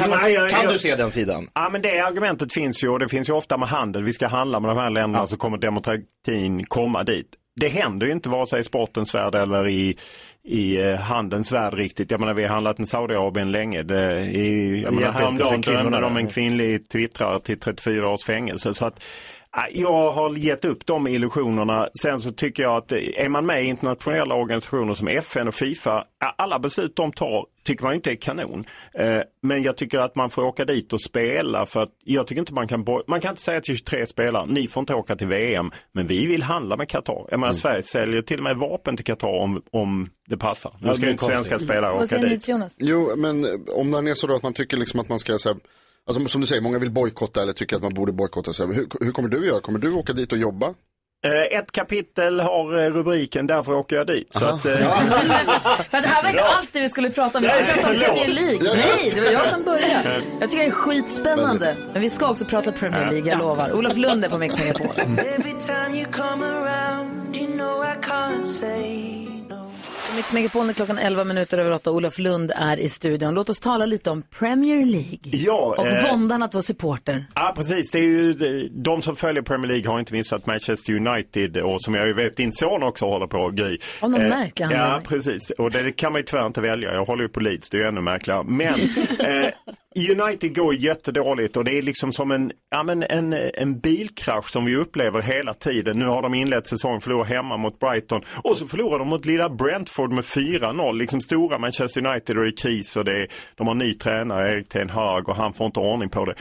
S2: kan, man,
S15: Nej, jag-
S2: kan
S15: jag-
S2: du se den sidan?
S15: Ja men det argumentet finns ju och det finns ju ofta med handel. Vi ska handla med de här länderna så kommer demokratin komma dit. Det händer ju inte vare sig i sportens värld eller i, i eh, handelns värld riktigt. Jag menar vi har handlat med Saudiarabien länge. Det, i,
S2: Jag menar,
S15: i,
S2: inte för
S15: häromdagen
S2: kvinnorna
S15: dömde de
S2: där.
S15: en kvinnlig twittrare till 34 års fängelse. Så att, eh, jag har gett upp de illusionerna. Sen så tycker jag att eh, är man med i internationella organisationer som FN och Fifa, eh, alla beslut de tar tycker man ju inte är kanon. Eh, Men jag tycker att man får åka dit och spela för att jag tycker inte man kan, boj- man kan inte säga till 23 spelare, ni får inte åka till VM, men vi vill handla med Qatar. Jag menar Sverige säljer till och med vapen till Qatar om, om det passar. Nu
S3: Ja,
S15: ska
S3: det är
S15: ju inte svenska
S3: konstigt.
S15: spelare åka dit.
S1: Jonas?
S3: Jo, men om den är så då att man tycker liksom att man ska, så här, alltså, som du säger, många vill bojkotta eller tycker att man borde bojkotta. Så här, hur, hur kommer du göra? Kommer du åka dit och jobba?
S15: Eh, Ett kapitel har eh, rubriken Därför åker jag dit. Så att, eh,
S1: Men det här var inte alls det vi skulle prata om. Vi skulle
S15: Nej,
S1: prata om
S15: förlåt.
S1: Premier League.
S15: Ja,
S1: Nej,
S15: just
S1: det
S15: det.
S1: var jag som började.
S15: Nej.
S1: Jag tycker det är skitspännande. Men vi ska också prata Premier League, jag lovar. Olof Lund är på Mix Megapol.
S10: Every time you come around, you know I can't say.
S1: Mix Megapol är klockan 11 minuter över 8. Olof Lund är i studion. Låt oss tala lite om Premier League.
S15: ja,
S1: Och
S15: eh,
S1: våndan att vara supporter.
S15: Ja precis, det är ju, eh, de som följer Premier League har inte missat Manchester United och som jag ju vet din son också håller på Gry. Eh,
S1: Av någon märklig
S15: Ja
S1: anledning.
S15: precis, och det kan man ju tyvärr inte välja. Jag håller ju på Leeds, det är ju ännu märkligare. Men eh, United går ju jättedåligt och det är liksom som en, ja, men en, en bilkrasch som vi upplever hela tiden. Nu har de inlett säsongen, förlorar hemma mot Brighton och så förlorar de mot lilla Brentford med 4-0. Liksom stora Manchester United och det är kris och det är, de har ny tränare, Erik Ten Hag och han får inte ordning på det.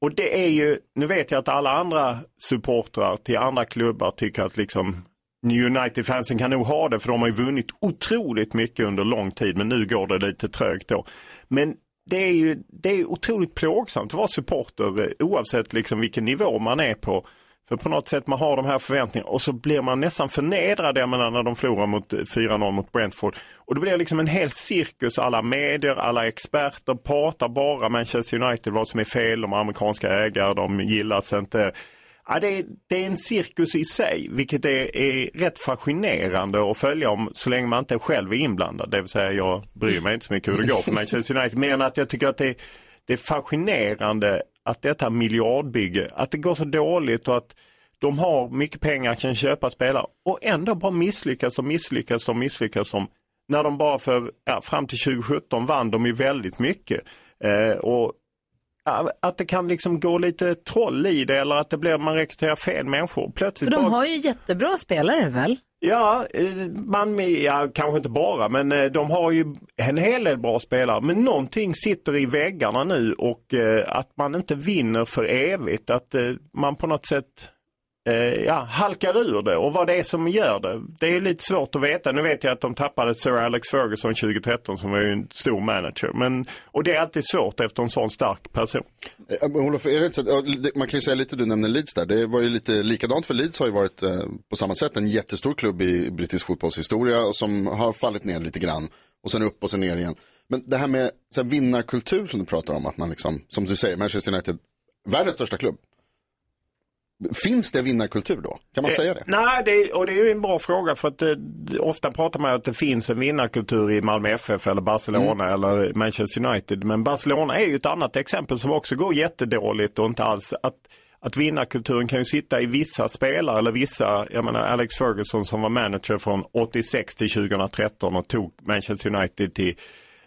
S15: Och det är ju, nu vet jag att alla andra supportrar till andra klubbar tycker att liksom United-fansen kan nog ha det för de har ju vunnit otroligt mycket under lång tid men nu går det lite trögt då. Men det är ju det är ju otroligt plågsamt att vara supporter eh, oavsett liksom vilken nivå man är på. För på något sätt man har de här förväntningarna och så blir man nästan förnedrad jag menar, när de förlorar mot eh, 4-0 mot Brentford. Och det blir liksom en hel cirkus, alla medier, alla experter pratar bara Manchester United, vad som är fel, de har amerikanska ägare, de gillas inte. Ja, det, är, det är en cirkus i sig, vilket är, är rätt fascinerande att följa om så länge man inte själv är inblandad. Det vill säga, jag bryr mig inte så mycket hur det går för Manchester United, men att jag tycker att det, det är fascinerande att detta miljardbygge, att det går så dåligt och att de har mycket pengar, kan köpa spelare och ändå bara misslyckas och misslyckas och misslyckas de. När de bara för, ja, fram till 2017 vann de ju väldigt mycket. Eh, och ja, att det kan liksom gå lite troll i det eller att det blir, man rekryterar fel människor.
S1: För
S15: Plötsligt
S1: de
S15: bara-
S1: har ju jättebra spelare väl?
S15: Ja, eh, man, ja, kanske inte bara, men eh, de har ju en hel del bra spelare. Men någonting sitter i väggarna nu och eh, att man inte vinner för evigt. Att eh, man på något sätt eh, ja, halkar ur det och vad det är som gör det. Det är lite svårt att veta. Nu vet jag att de tappade Sir Alex Ferguson 2013 som var ju en stor manager. Men, och det är alltid svårt efter en sån stark person.
S3: Eh, men Olof, är det inte så, att- ja, det- man kan ju säga lite, du nämner Leeds där, det var ju lite likadant för Leeds har ju varit eh, på samma sätt en jättestor klubb i brittisk fotbollshistoria och som har fallit ner lite grann och sen upp och sen ner igen. Men det här med så här, vinnarkultur som du pratar om, att man liksom, som du säger, Manchester United, världens största klubb. Finns det vinnarkultur då? Kan man säga det?
S15: Eh, Nej, det är, och det är ju en bra fråga för att eh, d- ofta pratar man ju att det finns en vinnarkultur i Malmö FF eller Barcelona
S3: Mm.
S15: eller Manchester United. Men Barcelona är ju ett annat exempel som också går jättedåligt och inte alls att att vinnarkulturen kan ju sitta i vissa spelare eller vissa, jag menar Alex Ferguson som var manager från 86 till 2013 och tog Manchester United till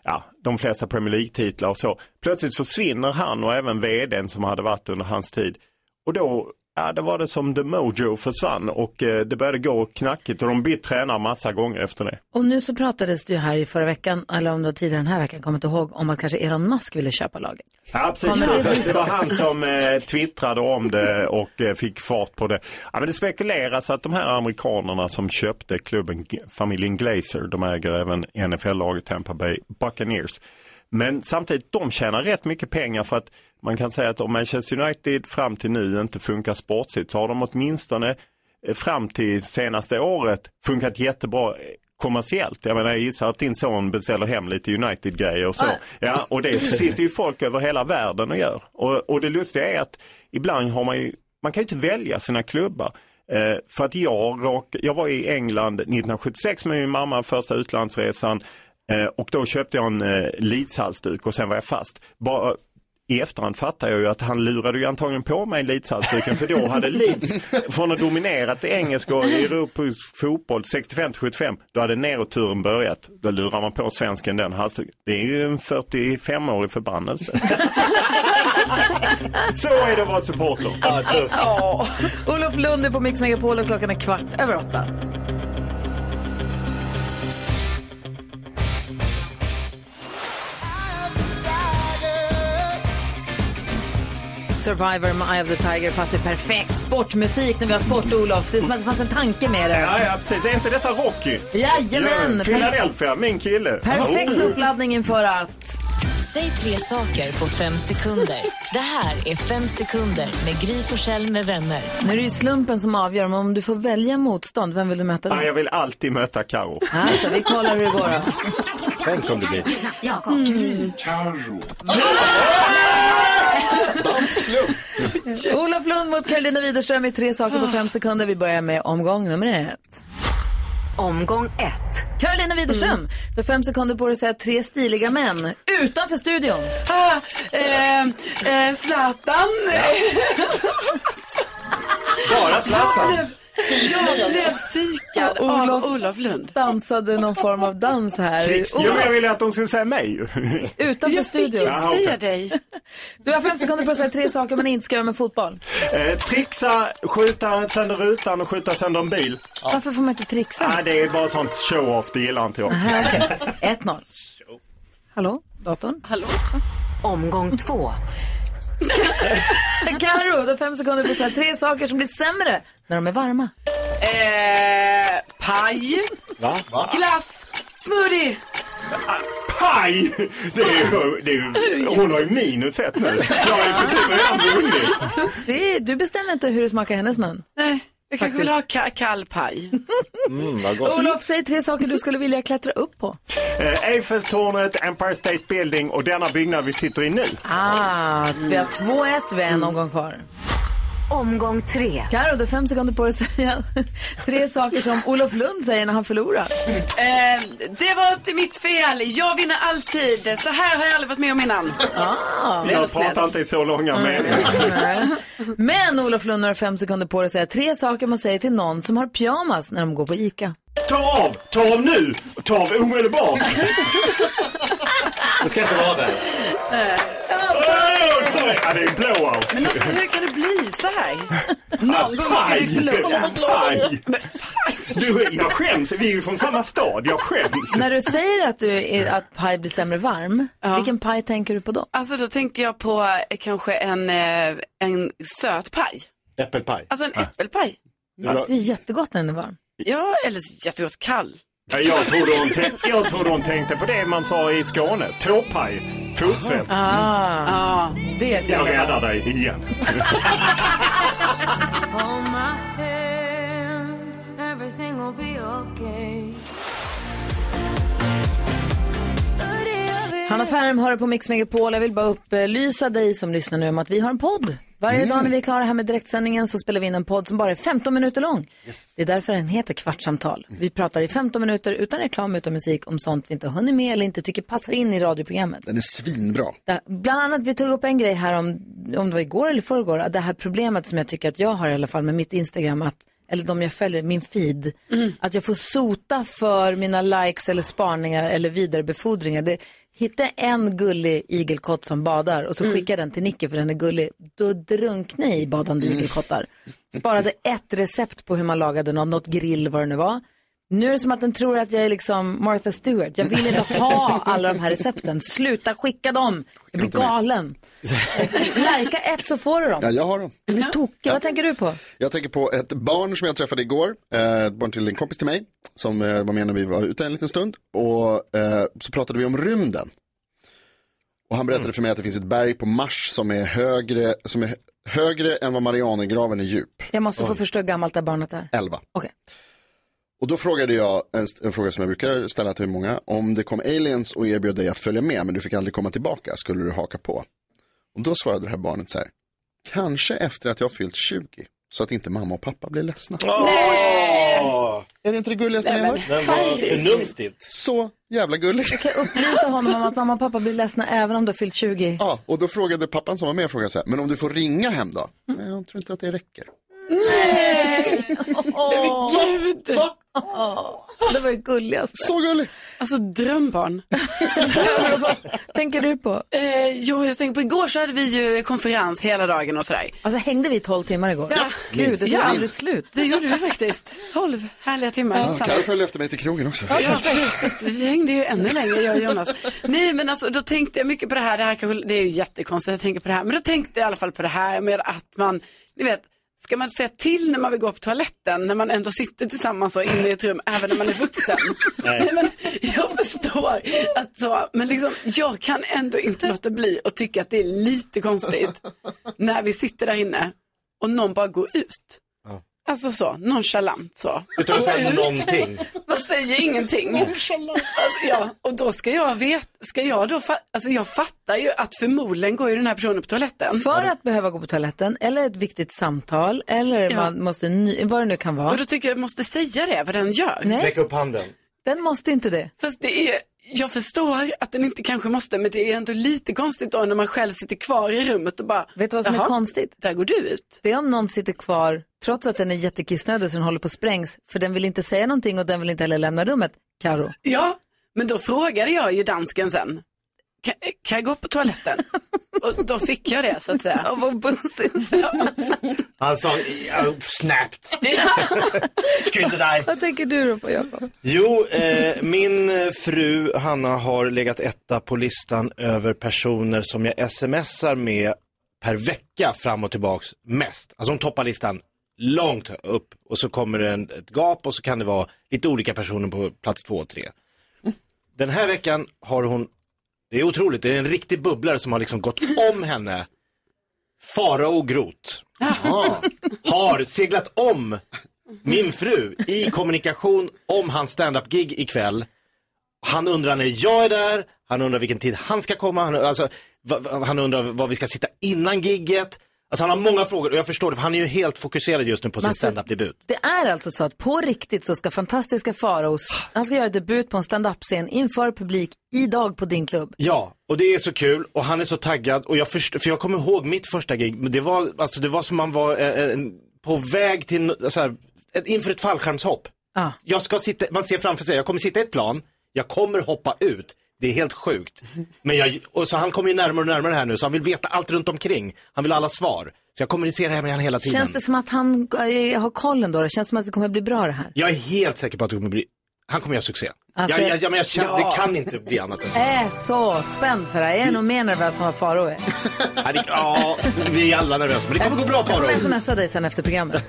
S15: ja, de flesta Premier League-titlar och så. Plötsligt försvinner han och även vdn som hade varit under hans tid. Och då, ja, det var det som The Mojo försvann och eh, det började gå knackigt och de bytte tränare massa gånger efter det.
S1: Och nu så pratades det ju här i förra veckan, eller om det var tidigare den här veckan, kommer inte ihåg, om att kanske Elon Musk ville köpa laget.
S15: Ja, precis.
S1: Ja, men det är
S15: det,
S1: väl så.
S15: var han som eh, twittrade om det och eh, fick fart på det. Ja, men det spekuleras att de här amerikanerna som köpte klubben, G- familjen Glazer, de äger även NFL-laget Tampa Bay Buccaneers. Men samtidigt, de tjänar rätt mycket pengar för att man kan säga att om Manchester United fram till nu inte funkar sportsligt så har de åtminstone eh, fram till senaste året funkat jättebra eh, kommersiellt. Jag menar jag gissar att din son beställer hem lite United-grejer och så. Ja, och det sitter ju folk över hela världen och gör. Och, och det lustiga är att ibland har man ju, man kan ju inte välja sina klubbar. Eh, för att jag, råk, jag var i England 1976 med min mamma, första utlandsresan. Eh, och då köpte jag en eh, Leeds-halsduk och sen var jag fast. Bara, i efterhand fattar jag ju att han lurade ju antagligen på mig Leeds-halsduken för då hade Leeds från att ha dominerat i engelsk och europeisk fotboll 65-75 då hade neroturen börjat. Då lurar man på svensken den halsduken. Det är ju en 45-årig förbannelse. Så är det att vara supporter. Ja, tufft.
S1: Ja. Olof Lund är på Mix Megapol och klockan är kvart över åtta. Survivor med Eye of the Tiger passar ju perfekt. Sportmusik när vi har sport, Olof. Det är som att det fanns en tanke med det.
S15: Ja, ja, precis. Är inte detta Rocky?
S1: Jajamän.
S15: Ja, Philadelphia, min kille.
S1: Perfekt
S15: Oh.
S1: uppladdning inför att...
S16: Säg tre saker på fem sekunder. Det här är Fem sekunder med Gry Forssell med vänner.
S1: Nu är det ju slumpen som avgör, men om du får välja motstånd, vem vill du möta då?
S15: Ja, jag vill alltid möta Karo.
S1: Alltså, vi kollar hur det går då.
S15: Tänk om det blir.
S10: Hmm.
S1: Mm.
S15: Karo.
S3: Dansk slump.
S1: Olof Lund mot Karolina Widerström i tre saker på fem sekunder. Vi börjar med omgång nummer ett. Omgång ett. Karolina Widerström,
S14: Mm.
S1: du har fem sekunder på dig att säga tre stiliga män utanför studion.
S14: Ah, eh, eh, Zlatan.
S1: Bara
S14: Jag
S1: Zlatan.
S14: blev, jag blev psykad av Olof Lund.
S1: dansade någon form av dans här.
S15: Jo, men jag ville att de skulle säga mig ju.
S1: utanför studion.
S15: Jaha, okej.
S1: dig. Du har fem sekunder på dig att säga tre saker man inte ska göra med fotboll.
S15: Eh, trixa, skjuta sönder rutan och skjuta sönder en bil.
S1: Varför får man inte trixa?
S15: Ah, det är bara sånt show-off, det gillar inte jag.
S1: 1-0. Hallå, datorn? Hallå?
S16: Omgång två.
S1: Carro, du har fem sekunder på att säga tre saker som blir sämre när de är varma.
S14: Eh, paj.
S15: Va?
S14: Glass. Smoothie.
S15: Paj! Det är, ju- det är, ju- hon har ju minus ett nu. Jag har ju precis redan vunnit.
S1: Det är, du bestämmer inte hur det smakar i hennes mun.
S14: Nej, jag kanske vill ha ka- kall paj.
S15: Mm, vad
S1: Olof, säg tre saker du skulle vilja klättra upp på.
S15: Eh, Eiffeltornet, Empire State Building och denna byggnad vi sitter i nu.
S1: Ah, vi har 2-1, vi har en omgång kvar. Omgång tre. Karo, du har fem sekunder på dig att säga tre saker som Olof Lund säger när han förlorar.
S7: Eh, det var inte mitt fel. Jag vinner alltid. Så här har jag aldrig varit med om innan.
S1: Ah.
S7: Det är
S15: Jag
S7: snällt.
S15: pratar inte i så långa
S7: Mm.
S15: meningar.
S1: Men Olof Lund har fem sekunder på dig att säga tre saker man säger till någon som har pyjamas när de går på ICA.
S15: Ta av! Ta av nu! Ta av omedelbart!
S2: Det ska inte vara där.
S15: Oh, sorry. Ja, det är en blowout.
S7: Men alltså, hur kan det bli så här? Någon gång ska du förlora.
S15: Aj! alltså, Du, jag skäms. Vi är ju från samma stad. Jag skäms.
S1: När du säger att, du är, att paj blir sämre varm, vilken paj tänker du på då?
S7: Alltså då tänker jag på eh, kanske en, eh, en söt paj.
S2: Äppelpaj.
S7: Alltså en äppelpaj.
S1: Det är jättegott när den är varm.
S7: Ja, eller så jättegott kall.
S15: Ja, Jag trodde, hon tän- jag trodde hon tänkte på det man sa i Skåne. Tåpaj, fotsvett.
S1: Ah, det är
S15: Jag räddar dig igen.
S10: Hold my hand, everything will be okay.
S1: Hanna Färm har det på Mix Megapol. Jag vill bara upplysa dig som lyssnar nu om att vi har en podd. Varje dag när vi är klara här med direktsändningen så spelar vi in en podd som bara är 15 minuter lång. Det är därför den heter Kvartsamtal. Vi pratar i 15 minuter utan reklam, utan musik om sånt vi inte har hunnit med eller inte tycker passar in i radioprogrammet.
S3: Den är svinbra.
S1: Där, bland annat, vi tog upp en grej här om, om det var igår eller förrgår, att det här problemet som jag tycker att jag har i alla fall med mitt Instagram, att, eller de jag följer, min feed, att jag får sota för mina likes eller spaningar eller vidarebefordringar. Det, hitta en gullig igelkott som badar och så skicka den till Nicky för den är gullig. Då drunknar jag i badande igelkottar. Sparade ett recept på hur man lagade något, något grill vad det nu var. Nu är det som att den tror att jag är liksom Martha Stewart. Jag vill inte ha alla de här recepten. Sluta skicka dem. Jag
S3: dem
S1: blir
S3: till mig.
S1: galen. Lajka ett så får du dem.
S3: Ja, jag har dem.
S1: Är du tokig? Vad tänker du på?
S3: Jag tänker på ett barn som jag träffade igår, eh, ett barn till en kompis till mig, som eh, var med när vi var ute en liten stund. Och eh, så pratade vi om rymden. Och han berättade för mig att det finns ett berg på Mars som är högre, som är högre än vad Marianergraven är djup.
S1: Jag måste få
S3: Oj.
S1: förstå hur gammalt det här barnet är.
S3: 11.
S1: Okej.
S3: Och då frågade jag, en, en fråga som jag brukar ställa till många, om det kom aliens och erbjöd dig att följa med men du fick aldrig komma tillbaka, skulle du haka på? Och då svarade det här barnet så här, kanske efter att jag fyllt 20, så att inte mamma och pappa blir ledsna. Är det inte det gulligaste
S1: Nej,
S3: ni har
S1: men Den var faktiskt. förnumstigt.
S3: Så jävla gulligt.
S1: Jag kan upplysa honom om att mamma och pappa blir ledsna även om du har fyllt 20.
S3: Alltså. Ja, och då frågade pappan som var med, frågade så här, men om du får ringa hem då? Nej, jag tror inte att det räcker.
S1: Åh, gud! Det var det gulligaste.
S3: Så gulligt.
S7: Alltså drömbarn.
S1: tänker du på?
S7: Eh, jo, jag tänker på igår så hade vi ju konferens hela dagen och sådär.
S1: Alltså hängde vi 12 timmar igår?
S7: Ja.
S1: Gud, det tar
S7: Ja.
S1: aldrig slut.
S7: Det gjorde vi faktiskt. 12 härliga timmar.
S3: Ja,
S7: tillsammans.
S3: Carro följde efter mig till krogen också.
S7: Ja, precis. Så att Vi hängde ju ännu längre, jag och Jonas. Nej, men alltså, då tänkte jag mycket på det här. Det, här kanske, det är ju jättekonstigt att jag tänker på det här. Men då tänkte jag i alla fall på det här med att man, ni vet, ska man säga till när man vill gå på toaletten när man ändå sitter tillsammans och inne i ett rum även när man är vuxen?
S10: Nej.
S7: Nej, men jag förstår att så, men liksom, jag kan ändå inte låta bli och tycka att det är lite konstigt när vi sitter där inne och någon bara går ut.
S2: Ja.
S7: Alltså så, nonchalant så.
S2: Utan att säga
S7: Gå ut.
S2: någonting.
S7: Man säger ingenting. Alltså, ja, och då ska jag veta, ska jag då, fa- alltså jag fattar ju att förmodligen går ju den här personen på toaletten.
S1: För att behöva gå på toaletten eller ett viktigt samtal eller
S7: Ja.
S1: man måste, ny- vad det nu kan vara.
S7: Och då tycker jag jag måste säga det, vad den gör.
S1: Nej,
S2: Räck upp handen.
S1: den måste inte det.
S7: Fast det är, jag förstår att den inte kanske måste, men det är ändå lite konstigt då när man själv sitter kvar i rummet och bara,
S1: Vet du vad som är
S7: "Jaha,
S1: konstigt?
S7: Där går du ut.
S1: Det är om någon sitter kvar, trots att den är jättekissnödig så den håller på att sprängs, för den vill inte säga någonting och den vill inte heller lämna rummet. Karo.
S7: Ja, men då frågade jag ju dansken sen. Kan, kan jag gå på toaletten? Och då fick jag det så att säga.
S1: Och vad bussigt.
S2: Han sa, "Ja, snabbt. Skynda dig.
S1: Vad tänker du då på Jakob?
S2: Jo, eh, min eh, fru Hanna har legat etta på listan över personer som jag smsar med per vecka fram och tillbaks mest. Alltså hon toppar listan långt upp och så kommer det en, ett gap och så kan det vara lite olika personer på plats två och tre. Den här veckan har hon, det är otroligt, det är en riktig bubblare som har liksom gått om henne. Farao Groth har seglat om min fru i kommunikation om hans standup-gig ikväll. Han undrar när jag är där, han undrar vilken tid han ska komma, han, alltså, va, va, han undrar var vi ska sitta innan gigget. Alltså han har många frågor och jag förstår det, för han är ju helt fokuserad just nu på
S1: Men
S2: sin
S1: alltså-
S2: standup-debut.
S1: Det är alltså så att på riktigt så ska fantastiska Faros, han ska göra debut på en stand-up-scen inför publik idag på din klubb.
S2: Ja, och det är så kul och han är så taggad och jag förstår, för jag kommer ihåg mitt första gig, men det var, alltså det var som man var eh, eh, på väg till, no- så här, ett, inför ett fallskärmshopp. Jag ska sitta, man ser framför sig, jag kommer sitta i ett plan, jag kommer hoppa ut, det är helt sjukt. Men jag, och så han kommer ju närmare och närmare här nu, så han vill veta allt runt omkring, han vill ha alla svar. Så jag kommunicerar med honom hela tiden.
S1: Känns det som att han eh, har kollen då? Det känns som att det kommer bli bra det här.
S2: Jag är helt säker på att det kommer bli, han kommer göra succé.
S1: Alltså-
S2: jag, jag, jag, men jag känner,
S1: Ja.
S2: det kan inte bli annat än så.
S1: Jag är så spänd för det här. Jag är nog mer nervös än vad Faro är.
S2: Ja, det- Ja, vi är alla nervösa, men det kommer gå bra
S1: Jag
S2: Farao.
S1: kommer smsa dig sen efter programmet.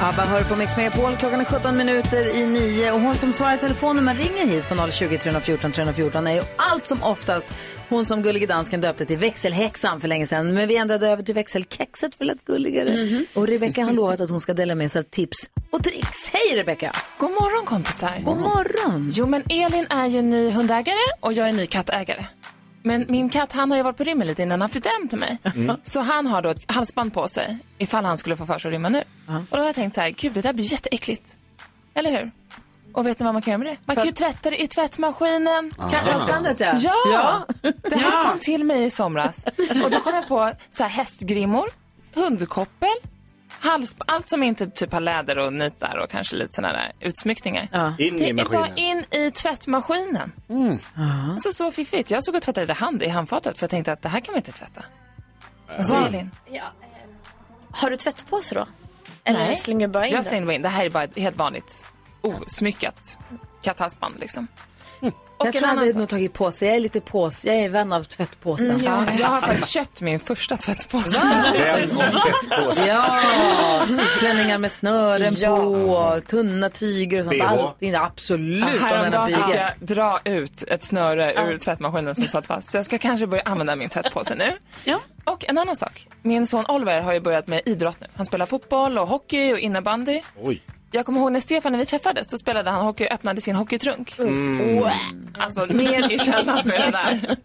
S1: Abba hör på Mix Megapol. Klockan är 17 minuter i 9 och hon som svarar i telefon när man ringer hit på 020 314 314 är ju allt som oftast hon som gullige dansken döpte till växelhäxan för länge sedan. Men vi ändrade över till växelkexet för det lät gulligare. Och Rebecca har lovat att hon ska dela med sig av tips och tricks. Hej Rebecca!
S17: God morgon kompisar.
S1: God morgon.
S17: Jo men Elin är ju ny hundägare och jag är ny kattägare. Men min katt han har ju varit på rymmen lite innan han flyttade hem till mig.
S1: Mm.
S17: Så han har då ett halsband på sig ifall han skulle få för sig att rymma nu. Och då har jag tänkt så här, gud det där blir jätteäckligt. Eller hur? Och vet ni vad man kan göra med det? Man kan ju tvätta det i tvättmaskinen.
S1: Ah. Katthalsbandet, ja.
S17: Ja!
S1: Ja.
S17: Det här kom till mig i somras. Och då kom jag på så här, hästgrimmor, hundkoppel, hals, allt som inte typ har läder och nitar och kanske lite sådana där utsmyckningar.
S2: In
S17: det
S2: i
S17: är bara
S2: maskinen.
S17: in i tvättmaskinen.
S8: Mm.
S17: Alltså så fiffigt. Jag såg och tvättade hand i handfatet för jag tänkte att det här kan vi inte tvätta.
S2: Äh.
S17: Vad säger Elin?
S8: Har du tvättpåse då? Eller slänger du bara in
S17: Jag
S8: den?
S17: slänger bara in. Det här är bara ett helt vanligt osmyckat katthalsband liksom.
S1: Jag tror
S17: en
S1: han
S17: annan
S1: hade
S17: sak.
S1: nog tagit påse. Jag är lite påse. Jag är vän av tvättpåsen.
S17: Mm, ja. Jag har faktiskt köpt min första tvättpåse.
S1: Ja, klänningar med snören på, tunna tyger och sånt.
S17: BH.
S1: Allt in, absolut.
S17: Ja,
S1: om den här
S17: Häromdagen fick
S1: bygger.
S17: jag dra ut ett snöre ur tvättmaskinen som satt fast. Så jag ska kanske börja använda min tvättpåse nu. Ja. Och en annan sak. Min son Oliver har ju börjat med idrott nu. Han spelar fotboll och hockey och innebandy.
S2: Oj.
S17: Jag kommer ihåg när Stefan när vi träffades, då spelade han hockey och öppnade sin hockeytrunk.
S2: Mm.
S17: Wow. Alltså ner i källaren med det där.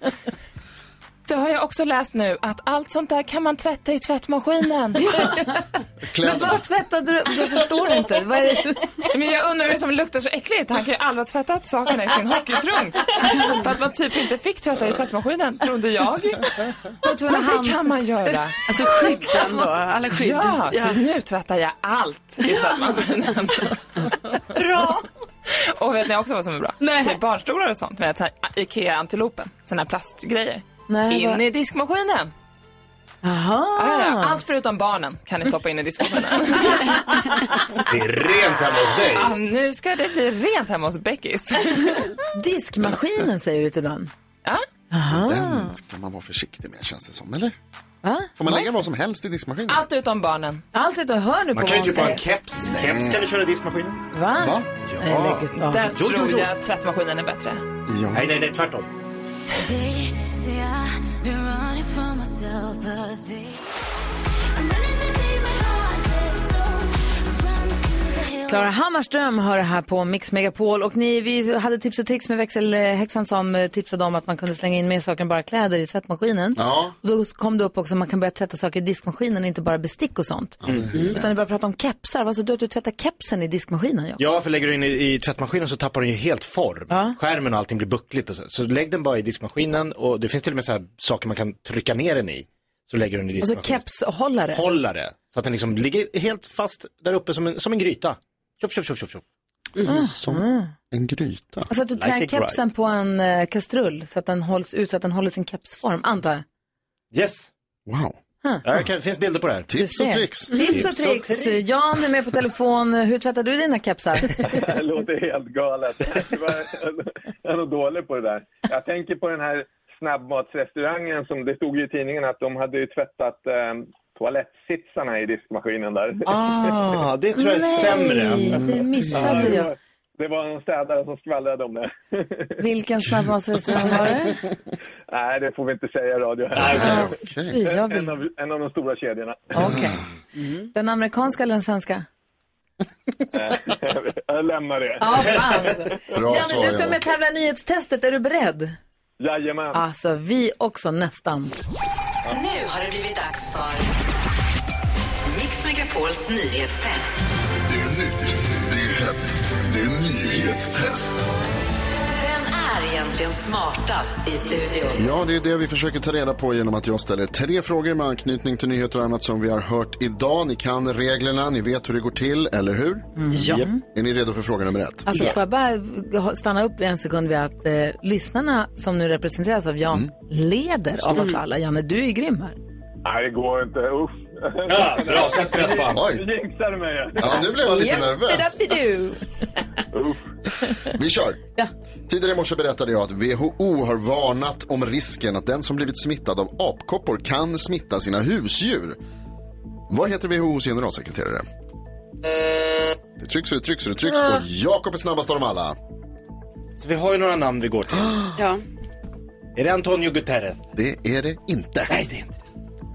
S17: Då har jag också läst nu att allt sånt där kan man tvätta i tvättmaskinen.
S1: Men vad tvättade du? Jag förstår inte. Vad är det?
S17: Men jag undrar hur som luktar så äckligt. Han kan ju aldrig ha tvättat sakerna i sin hockeytrunk. För att man typ inte fick tvätta i tvättmaskinen, trodde jag. Men det
S1: typ.
S17: kan man göra.
S7: Alltså skydden då, alla skydd.
S17: Ja,
S7: Ja.
S17: så nu tvättar jag allt i tvättmaskinen. Bra. Och vet ni också vad som är bra?
S1: Nej.
S17: Typ barnstolar och sånt med så här Ikea-antilopen, såna här plastgrejer.
S1: Nej,
S17: in
S1: vad-
S17: i diskmaskinen. Ah,
S1: Aha.
S17: Ja, ja. Allt förutom barnen kan ni stoppa in i diskmaskinen.
S2: Det är rent hemma hos dig.
S17: Ja, nu ska det bli rent hemma hos Beckis.
S1: Diskmaskinen säger du till den.
S17: Ja.
S1: Aha.
S3: Den ska man vara försiktig med känns det som, eller?
S1: Va?
S3: Får man lägga vad som helst i diskmaskinen?
S17: Allt utom barnen.
S1: Allt utom, hör nu på
S3: Man
S1: vad
S3: kan ju
S1: hon
S3: typ ha en
S1: säger.
S2: Keps, keps kan du köra i diskmaskinen.
S1: Va?
S3: Va?
S1: Nej, lägg ut av.
S17: Där
S2: Jo, jo,
S17: tror
S2: jo.
S17: jag tvättmaskinen är bättre.
S2: Nej, nej, nej, tvärtom.
S18: They say I've been running from myself, but they.
S1: Klara Hammarström hör här på Mix Megapol och ni, vi hade tips och tricks med växelhäxan som eh, tipsade om att man kunde slänga in mer saker än bara kläder i tvättmaskinen.
S3: Ja.
S1: Och då kom det upp också att man kan börja tvätta saker i diskmaskinen, inte bara bestick och sånt. Utan ni börjar prata om kepsar, vad så du att du tvättar kepsen i diskmaskinen? Ja.
S2: Ja, för lägger du in i, i tvättmaskinen så tappar den ju helt form. Skärmen och allting blir buckligt och så. Så lägg den bara i diskmaskinen och det finns till och med så här saker man kan trycka ner den i. Så lägger du den i
S1: Alltså
S2: diskmaskinen.
S1: kepshållare.
S2: Hållare. Så att den liksom ligger helt fast där uppe som en, som en gryta. Tjoff, tjoff, tjoff, tjoff, tjoff.
S3: Mm. Som en gryta.
S1: Mm. Alltså att du trär kepsen på en eh, kastrull så att den hålls ut, så att den håller sin kepsform, antar jag.
S2: Yes.
S3: Wow.
S2: Ja, det kan- finns bilder på det här.
S1: Du ser. Tips och tricks. Jan är med på telefon. Hur tvättar du dina kepsar?
S19: Det låter helt galet. Det var- Jag är nog dålig på det där. Jag tänker på den här snabbmatsrestaurangen som det stod ju i tidningen att de hade ju tvättat eh, toalettsitsarna i diskmaskinen där.
S2: Ah, det tror jag är Nej, sämre.
S1: det missade
S19: det
S1: jag.
S19: var- Det var en städare som skvallrade om det.
S1: Vilken snabbmatsrestaurang var det?
S19: Nej, det får vi inte säga i radio.
S1: Nej, okej. Fy, jag vill-
S19: En, av, en av de stora kedjorna.
S3: Mm.
S1: Den amerikanska eller den svenska?
S19: Eh, jag lämnar det.
S1: Ja, fan. Janne, du ska
S19: ja.
S1: med och tävla i nyhetstestet. Är du beredd?
S19: Jajamän.
S1: Alltså, vi också nästan.
S20: Nu har det blivit dags för Mix Megapols nyhetstest.
S21: Det är nytt, det är hett, det är nyhetstest.
S20: Vem är egentligen smartast i studion?
S3: Ja, det är det vi försöker ta reda på genom att jag ställer tre frågor med anknytning till nyheter och annat som vi har hört idag. Ni kan reglerna, ni vet hur det går till, eller hur?
S1: Mm. Ja.
S3: Japp. Är ni redo för fråga nummer ett?
S1: Alltså, får jag bara ha- stanna upp en sekund vid att eh, lyssnarna som nu representeras av Jan
S3: Mm.
S1: leder av oss alla. Janne, du är ju grym här.
S19: Nej, det går inte. Usch.
S2: Ja, bra. Sätt press på
S3: honom.
S19: Du jinxade mig.
S3: Ja, nu blev jag lite nervös.
S1: Jippidapidu.
S3: Vi kör. Tidigare i morse berättade jag att WHO har varnat om risken att den som blivit smittad av apkoppor kan smitta sina husdjur. Vad heter WHOs generalsekreterare? Det trycks och det trycks och det trycks och Jakob är snabbast av dem alla.
S2: Så vi har ju några namn vi går till.
S7: Ja.
S2: Är det Antonio Guterres?
S3: Det är det inte.
S2: Nej, det är inte
S3: det.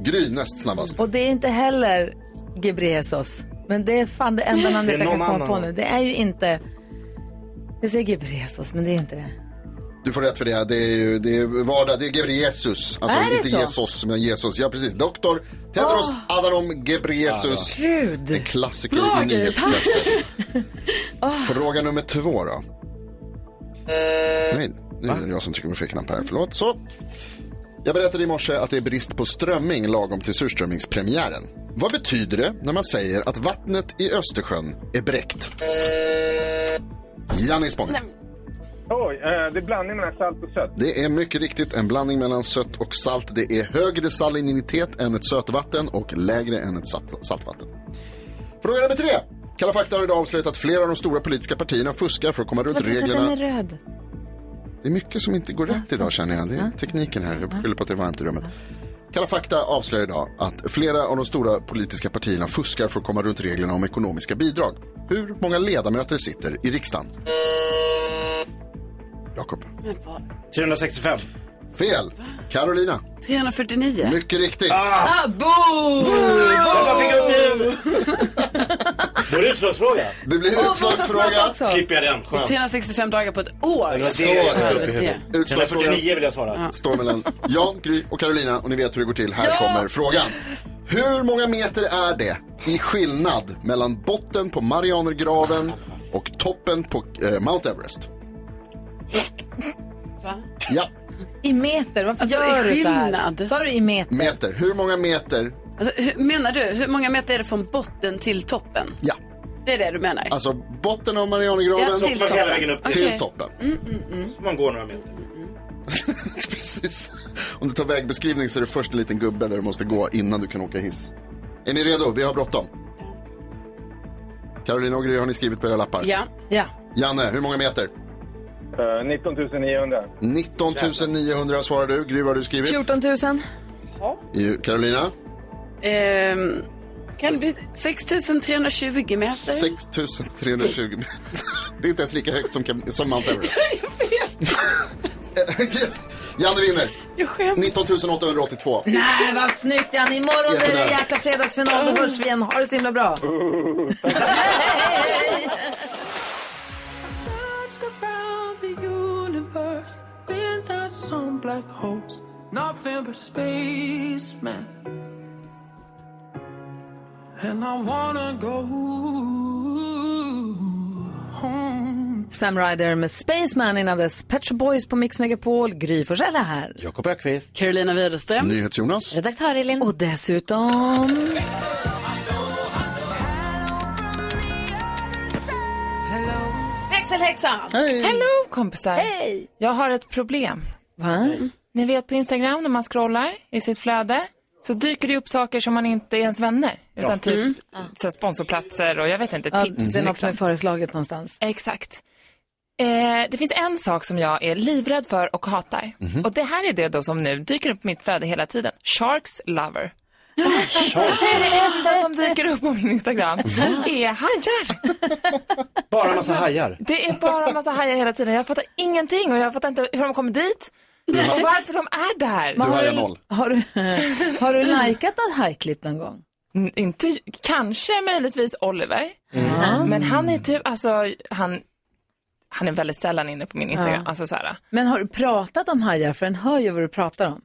S3: Gry näst snabbast.
S1: Och det är inte heller Ghebreyesus. Men det är fan det enda namnet
S3: Det är
S1: jag kan
S3: någon
S1: komma på
S3: annan.
S1: nu. Det är ju inte... Jag säger Ghebreyesus, men det är inte det.
S3: Du får rätt för det. Det är, ju, det är vardag. Det är Gebreyesus. Alltså
S1: Är det
S3: inte
S1: så?
S3: Jesus, men Jesus. Ja, precis. Doktor Tedros Adhanom Ghebreyesus.
S1: Gud.
S3: En klassiker
S1: Bra,
S3: i
S1: Gry.
S3: nyhetstestet. Fråga nummer två då. Nej, nu är det jag som trycker på fel knapp här. Förlåt. Så. Jag berättade i morse att det är brist på strömming lagom till surströmmingspremiären. Vad betyder det när man säger att vattnet i Östersjön är bräckt? Janni Spång.
S19: Oj, eh, det är blandning mellan salt och sött.
S3: Det är mycket riktigt en blandning mellan sött och salt. Det är högre salinitet än ett sötvatten och lägre än ett salt- saltvatten. Fråga nummer tre. Kalla fakta har idag avslöjat att flera av de stora politiska partierna fuskar för att komma runt
S8: Vänta, vänta, den är
S3: reglerna.
S8: röd.
S3: Det är mycket som inte går rätt idag känner jag. Det är tekniken här. Jag skyller på att det är varmt i rummet. Kalla fakta avslöjar idag att flera av de stora politiska partierna fuskar för att komma runt reglerna om ekonomiska bidrag. Hur många ledamöter sitter i riksdagen? Jakob.
S2: 365.
S3: Fel. Carolina.
S7: 349.
S3: Mycket riktigt.
S7: Ah, boom!
S2: Jag fick upp Då är det utslagsfråga.
S3: Det blir
S7: Åh, vad så
S3: utslagsfråga.
S7: snabbt också. Slipper
S2: jag den.
S7: 365 dagar på ett år.
S3: Så högt upp i huvudet. Utslagsfrågan
S2: 349 vill jag svara.
S3: står mellan Jan, Gry och Carolina och ni vet hur det går till. Här
S2: Ja!
S3: kommer frågan. Hur många meter är det i skillnad mellan botten på Marianergraven och toppen på eh, Mount Everest?
S7: Va?
S3: Ja,
S1: I meter, varför
S7: Alltså,
S1: gör du så här?
S7: skillnad.
S1: Sa du i meter?
S3: meter. Hur många meter?
S7: Alltså, hur, menar du, hur många meter är det från botten till toppen?
S3: Ja.
S7: Det är det du menar?
S3: Alltså botten av Marianergraven
S7: Ja, till toppen. Hela vägen upp.
S3: till
S7: Okej.
S3: toppen.
S7: Mm, mm, mm.
S2: Så man går några meter.
S3: Precis. Om du tar vägbeskrivning så är det först en liten gubbe där du måste gå innan du kan åka hiss. Är ni redo? Vi har bråttom. Carolina och Gry, har ni skrivit på era lappar?
S7: Ja.
S1: ja.
S3: Janne, hur många meter?
S19: Eh, 19 900.
S3: 19 900 svarar du. Gry, vad har du skrivit?
S1: 14 000?
S3: I- Carolina?
S7: Ehm, kan det bli 6320 meter?
S3: 6 320 meter. Det är inte ens lika högt som, Cam- som Mount Everest. Janne vinner.
S7: Jag skäms.
S3: 19 882.
S1: Nej, vad snyggt Jan. Imorgon är det
S3: Jättenära.
S1: jäkla fredagsfinal. Då hörs vi igen. Ha det så himla bra.
S10: Searched around the universe, been down some black holes, nothing but space, man. And I wanna go home.
S1: Sam Ryder med Spaceman innan dess. Pet Shop Boys på Mix Megapol. Gry Forssell är här.
S2: Jakob Ökvist.
S7: Carolina Widerström.
S3: NyhetsJonas.
S1: Redaktör Elin. Och dessutom...
S7: Växelhäxan!
S3: Hej!
S17: Hello kompisar! Hej! Jag har ett problem.
S1: Va?
S17: Ni vet på Instagram när man scrollar i sitt flöde så dyker det upp saker som man inte är ens vänner. Utan
S1: Ja.
S17: typ
S1: Mm.
S17: så här sponsorplatser och jag vet inte,
S1: Ja,
S17: tips.
S1: det är något som
S17: liksom.
S1: är föreslaget någonstans.
S17: Exakt. Eh, det finns en sak som jag är livrädd för och hatar.
S1: Mhm.
S17: Och det här är det då som nu dyker upp i mitt flöde hela tiden. Sharks lover. Det är det enda som dyker upp på min Instagram. är hajar.
S2: Bara massa hajar.
S17: Det är bara massa hajar hela tiden. Jag fattar ingenting och jag fattar inte hur de kommer dit.
S2: Du har-
S17: Och varför de är där.
S1: Men har, du, har du likat ett hajklipp någon gång?
S17: Mm, Inte, kanske möjligtvis Oliver.
S1: Mm.
S17: Men han är typ, alltså han, han är väldigt sällan inne på min Instagram.
S1: Ja.
S17: Alltså så här.
S1: Men har du pratat om hajar? För den hör ju vad du pratar om.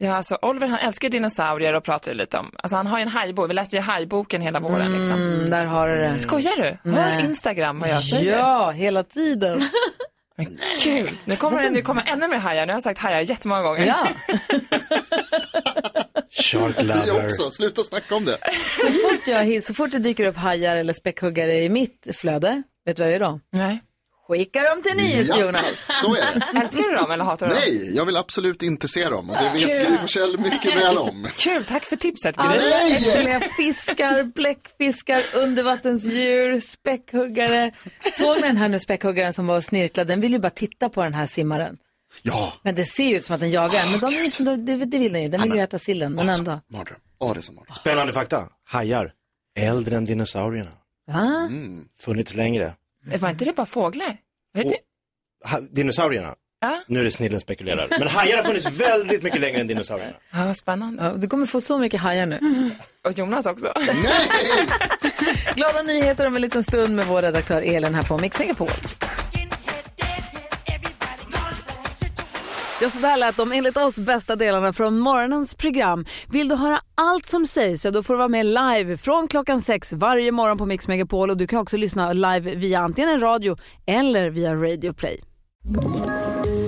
S17: Ja, alltså Oliver han älskar dinosaurier och pratar ju lite om, alltså han har ju en hajbok, vi läste ju hajboken hela våren liksom.
S1: Mm, där har du den.
S17: Skojar du? Hör
S1: Nej.
S17: Instagram vad jag säger.
S1: Ja, hela tiden.
S17: Gud, nu kommer det nu kommer ännu mer hajar, nu har jag sagt hajar jättemånga gånger.
S1: Ja.
S2: Shark
S3: Vi
S2: lover.
S3: också, sluta snacka om det.
S1: Så fort, jag, så fort det dyker upp hajar eller späckhuggare i mitt flöde, vet du vad jag gör då?
S17: Nej.
S1: Skicka dem till NyhetsJonas. Jonas.
S3: så är det.
S17: Älskar du dem eller hatar du dem?
S3: Nej, jag vill absolut inte se dem och det
S1: Kul.
S3: vet Gry Forssell mycket väl om.
S17: Kul, tack för tipset Gry.
S1: Alla äckliga fiskar, bläckfiskar, undervattensdjur, späckhuggare. Såg ni den här nu späckhuggaren som var och snirklade? Den vill ju bara titta på den här simmaren.
S3: Ja.
S1: Men det ser ju ut som att den jagar en, men de, är ju som- de, det- det vill den ju. Den vill ju äta sillen, men
S17: Alltså.
S1: ändå.
S3: Mardröm. Ja, det är som mardröm.
S2: Spännande fakta. Hajar. Äldre än dinosaurierna.
S1: Va?
S3: Mm.
S2: Funnits längre.
S17: Var inte det bara fåglar? Var det-
S2: Ha, dinosaurierna.
S17: Ja.
S2: Nu är det snillen spekulerar. Men hajar har funnits väldigt mycket längre än dinosaurierna.
S17: Ja, vad spännande.
S1: Ja, du kommer få så mycket hajar nu.
S17: Och Jonas också.
S1: Glada nyheter om en liten stund med vår redaktör Elin här på Mix Megapol. Ja, så där lät de enligt oss bästa delarna från morgonens program. Vill du höra allt som sägs, ja, då får du vara med live från klockan sex varje morgon på Mix Megapol. Och du kan också lyssna live via antingen en radio eller via Radio Play.